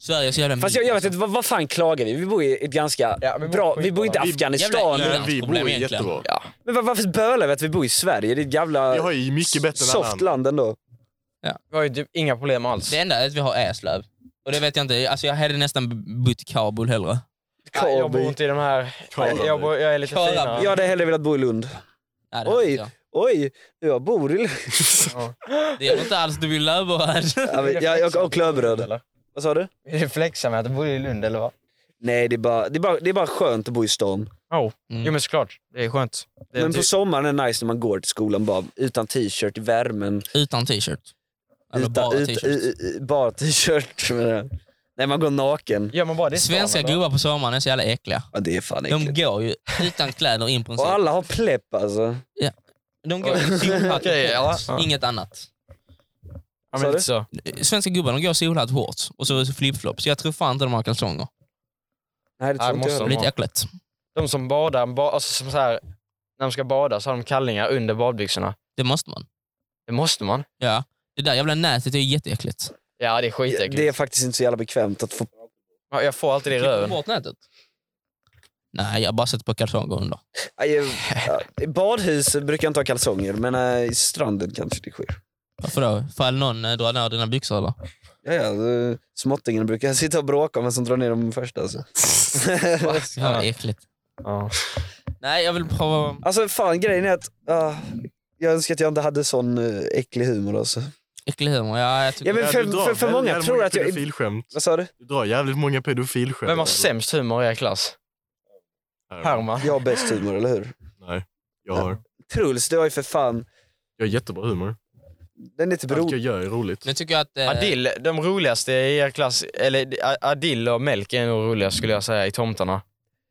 S4: Sverige är så jävla
S2: Fast jag, jag vet inte, vad, vad fan klagar vi? Vi bor i ett ganska
S3: Ja, vi bor
S2: bra...
S3: skitbra.
S2: Vi bor inte i
S6: Vi-
S2: Afghanistan.
S4: Jävla-
S6: Nej, vi bor
S4: problem egentligen.
S6: jättebra.
S2: Men var- varför bölar vi att vi bor i Sverige? Det är ett
S6: Vi har
S2: jävla
S6: ju mycket bättre än alla
S2: Eh, soft
S6: andra.
S2: land ändå.
S3: Vi har ju typ inga problem alls.
S4: Det enda är att vi har Eslöv. Och det vet jag inte, alltså jag hade nästan bott i Kabul hellre.
S3: Ja, jag bor inte i de här...
S6: Kabul.
S3: Jag, bor, jag är lite
S4: Kabul.
S3: finare.
S2: Jag hade hellre velat bo i Lund.
S4: Nej, det
S2: Oj.
S4: hade jag.
S2: Oj, jag bor i Lund.
S4: Det är inte alls, du vill Löberöd.
S2: Ja, men- ja, och, och Klöveröd. Vad sa du?
S3: Är det flexa med att du bor i Lund eller vad?
S2: Nej, det är, bara, det, är bara, det är bara skönt att bo i stan.
S4: Mm.
S3: Jo men såklart, det är skönt. Det är
S2: Men
S3: typ-
S2: på sommaren är det nice när man går till skolan bara utan t-shirt i värmen.
S4: Utan t-shirt. Eller
S2: utan,
S4: bara
S2: ut-
S4: t-shirt.
S2: i- i- i- Bara t-shirt. menar jag. Nej, man går naken.
S3: Gör man bara det i stan,
S4: Svenska
S3: eller?
S4: gubbar på sommaren är så jävla äckliga.
S2: Ja, det är fan
S4: De
S2: äckligt.
S4: går ju utan kläder in på en
S2: Och
S4: sol.
S2: alla har plepp alltså.
S4: De går i solhatt
S3: Okej, ja.
S4: och shorts, inget annat.
S3: Ja,
S2: Sa
S3: men
S2: du?
S3: lite så.
S4: Svenska gubbar de går i solhatt, shorts och så flipflops. Jag tror fan inte de har kalsonger.
S2: Nej, det
S3: Ja,
S2: tror inte
S3: måste
S2: jag.
S3: de.
S4: Lite äckligt.
S3: De som badar, ba alltså som så här, när de ska bada så har de kallingar under badbyxorna.
S4: Det måste man.
S3: Det måste man.
S4: Ja. Det där jävla nätet är ju jätteäckligt.
S3: Ja, det är
S2: Ja,
S3: skitäckligt.
S2: Det är faktiskt inte så jävla bekvämt att få...
S3: Ja, Jag får alltid det i
S4: Klipper du
S3: röven.
S4: bort nätet? Nej, jag bara sätter på kalsonger under.
S2: Aj, eh, ja, I badhus brukar jag inte ha kalsonger, men eh, i stranden kanske det sker.
S4: Varför då? Fall någon eh, drar ner dina byxor eller?
S2: Ja, ja, eh, småttingen brukar jag sitta och bråka om vem som drar ner dem först. Alltså.
S4: Ja, vad äckligt.
S3: Ja.
S4: Nej, jag vill prova...
S2: alltså fan, grejen är att ah, jag önskar att jag inte hade sån eh, äcklig humor. Alltså.
S4: Äcklig humor. Ja, jag tycker...
S2: Ja, men
S6: Ja,
S2: för,
S6: du drar
S2: för, för
S6: jävligt
S2: många
S6: många
S2: tror att jag...
S6: pedofilskämt.
S2: Vad sa du?
S6: Du drar jävligt många pedofilskämt.
S3: Vem har sämst humor i er klass?
S6: Herman.
S3: Herman.
S2: Jag har bäst humor, eller hur?
S6: Nej, jag har.
S2: Truls, du har ju för fan...
S6: Jag har jättebra humor.
S2: Den är typ
S6: Allt
S2: rolig.
S6: jag gör är roligt.
S4: Nu tycker jag att... Eh,
S3: Adil, de roligaste i er klass, eller A- Adil och Melk är nog roligast skulle jag säga i Tomtarna.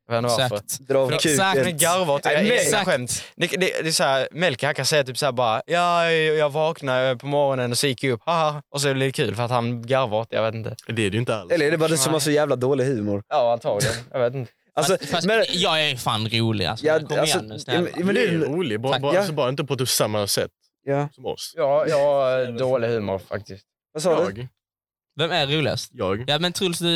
S3: Jag vet inte varför.
S4: Exakt.
S2: Dra av
S4: Exakt.
S3: Ni
S2: kuken.
S3: garvar åt
S4: Nej, men-
S3: era egna
S4: Exakt.
S3: skämt. Det, det, det är så här, Melker han kan säga typ så här bara ja, jag jag vaknade på morgonen och så gick jag upp, haha. Och så blir det kul för att han garvar åt det, jag vet inte.
S6: Det är det ju inte alls.
S2: Eller är det bara du som har så jävla dålig humor?
S3: Ja, antagligen. Jag vet inte.
S2: Alltså,
S4: fast, fast,
S2: men,
S4: Jag är fan rolig alltså.
S2: Ja,
S4: Kom
S2: alltså,
S4: igen nu, snälla.
S2: men- men
S6: det
S2: det-
S6: är roligt, bara,
S4: Tack.
S6: bara,
S2: Ja.
S6: alltså, bara inte på typ samma sätt
S2: ja.
S6: som oss.
S3: Ja, jag har eh, dålig humor faktiskt.
S2: Vad sa du?
S6: Jag.
S4: Vem är roligast?
S6: Jag.
S4: Ja, men Truls, du,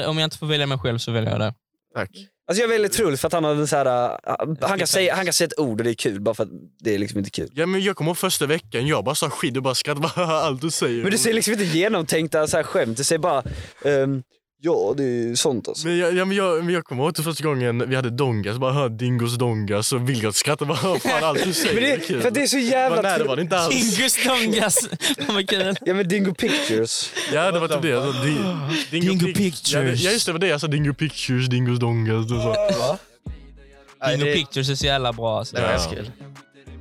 S4: eh, om jag inte får välja mig själv så väljer jag dig.
S6: Tack.
S2: Alltså jag väljer Truls för att han har den så här, uh, han, kan säga, han kan säga ett ord och det är kul bara för att det är liksom inte kul.
S6: Ja, men jag kommer ihåg första veckan, jag bara sa skit och bara skrattade. Allt du säger.
S2: Men du säger liksom inte genomtänkta så här skämt, du säger bara ehm,
S8: Ja, det är sånt alltså.
S6: Men jag, ja, men jag, men jag kommer ihåg till första gången vi hade dongas, bara hörde dingos dongas och Vilgot skrattade bara "Vad fan allt du säger
S8: Men
S6: är kul.
S8: det, för det är så
S6: Bara,
S8: jävla...
S6: nej det var det inte alls.
S4: Dingus Dongas. Fan vad kul.
S8: Ja men Dingo Pictures.
S6: Ja det var typ det. Alltså, di, dingo,
S4: Dingo
S6: pic-
S4: pictures.
S6: Ja, det- ja just det, det var det jag sa. Dingo pictures, dingos dongas. Och så.
S3: Nej,
S4: Dingo
S3: det-
S4: Pictures är så jävla bra. Alltså.
S3: Det var ganska kul.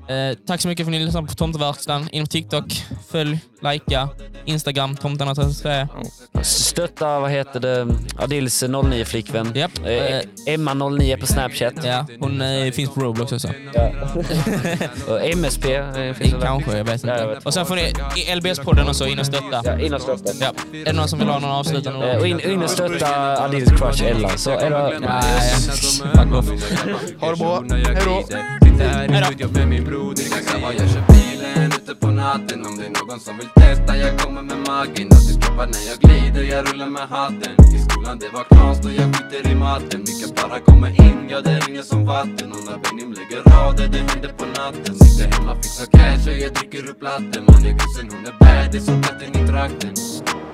S4: Eh, tack så mycket för att ni lyssnade på Tomteverkstan. In på TikTok, följ, likea, Instagram, Eh, tomtarna 33.
S2: Stötta, vad heter det, Adils 09-flickvän.
S4: Japp. Eh,
S2: Eh, Emma 09 på Snapchat.
S4: ja, hon eh, finns på Roblox också.
S2: Och MSP eh,
S4: I,
S2: finns det där.
S4: kanske, jag vet
S2: Ja, jag
S4: inte.
S2: vet.
S4: Och sen får ni i LBS-podden också in och stötta.
S8: Ja, in och stötta.
S4: Ja. Är det någon som vill ha någon avslutande
S2: Eh,
S4: ord?
S2: Och in, in och stötta Adils crush Ella. Så Ella,
S4: Alltså, Nej, fuck off.
S7: Ha det bra. Hejdå.
S4: Hej då.
S9: Sitter jag med min broder, exakt vad jag kör bilen ute på natten Om det är någon som vill testa, jag kommer med magen Naziskroppar när jag glider, jag rullar med hatten I skolan det var knas då jag skiter i matten Vilka para kommer in, ja det ringer som vatten Och när Benim lägger rader, det händer på natten Sitter hemma, fixar cash och jag dricker upp latten Man är kusin, hon är bad, det är som katten i trakten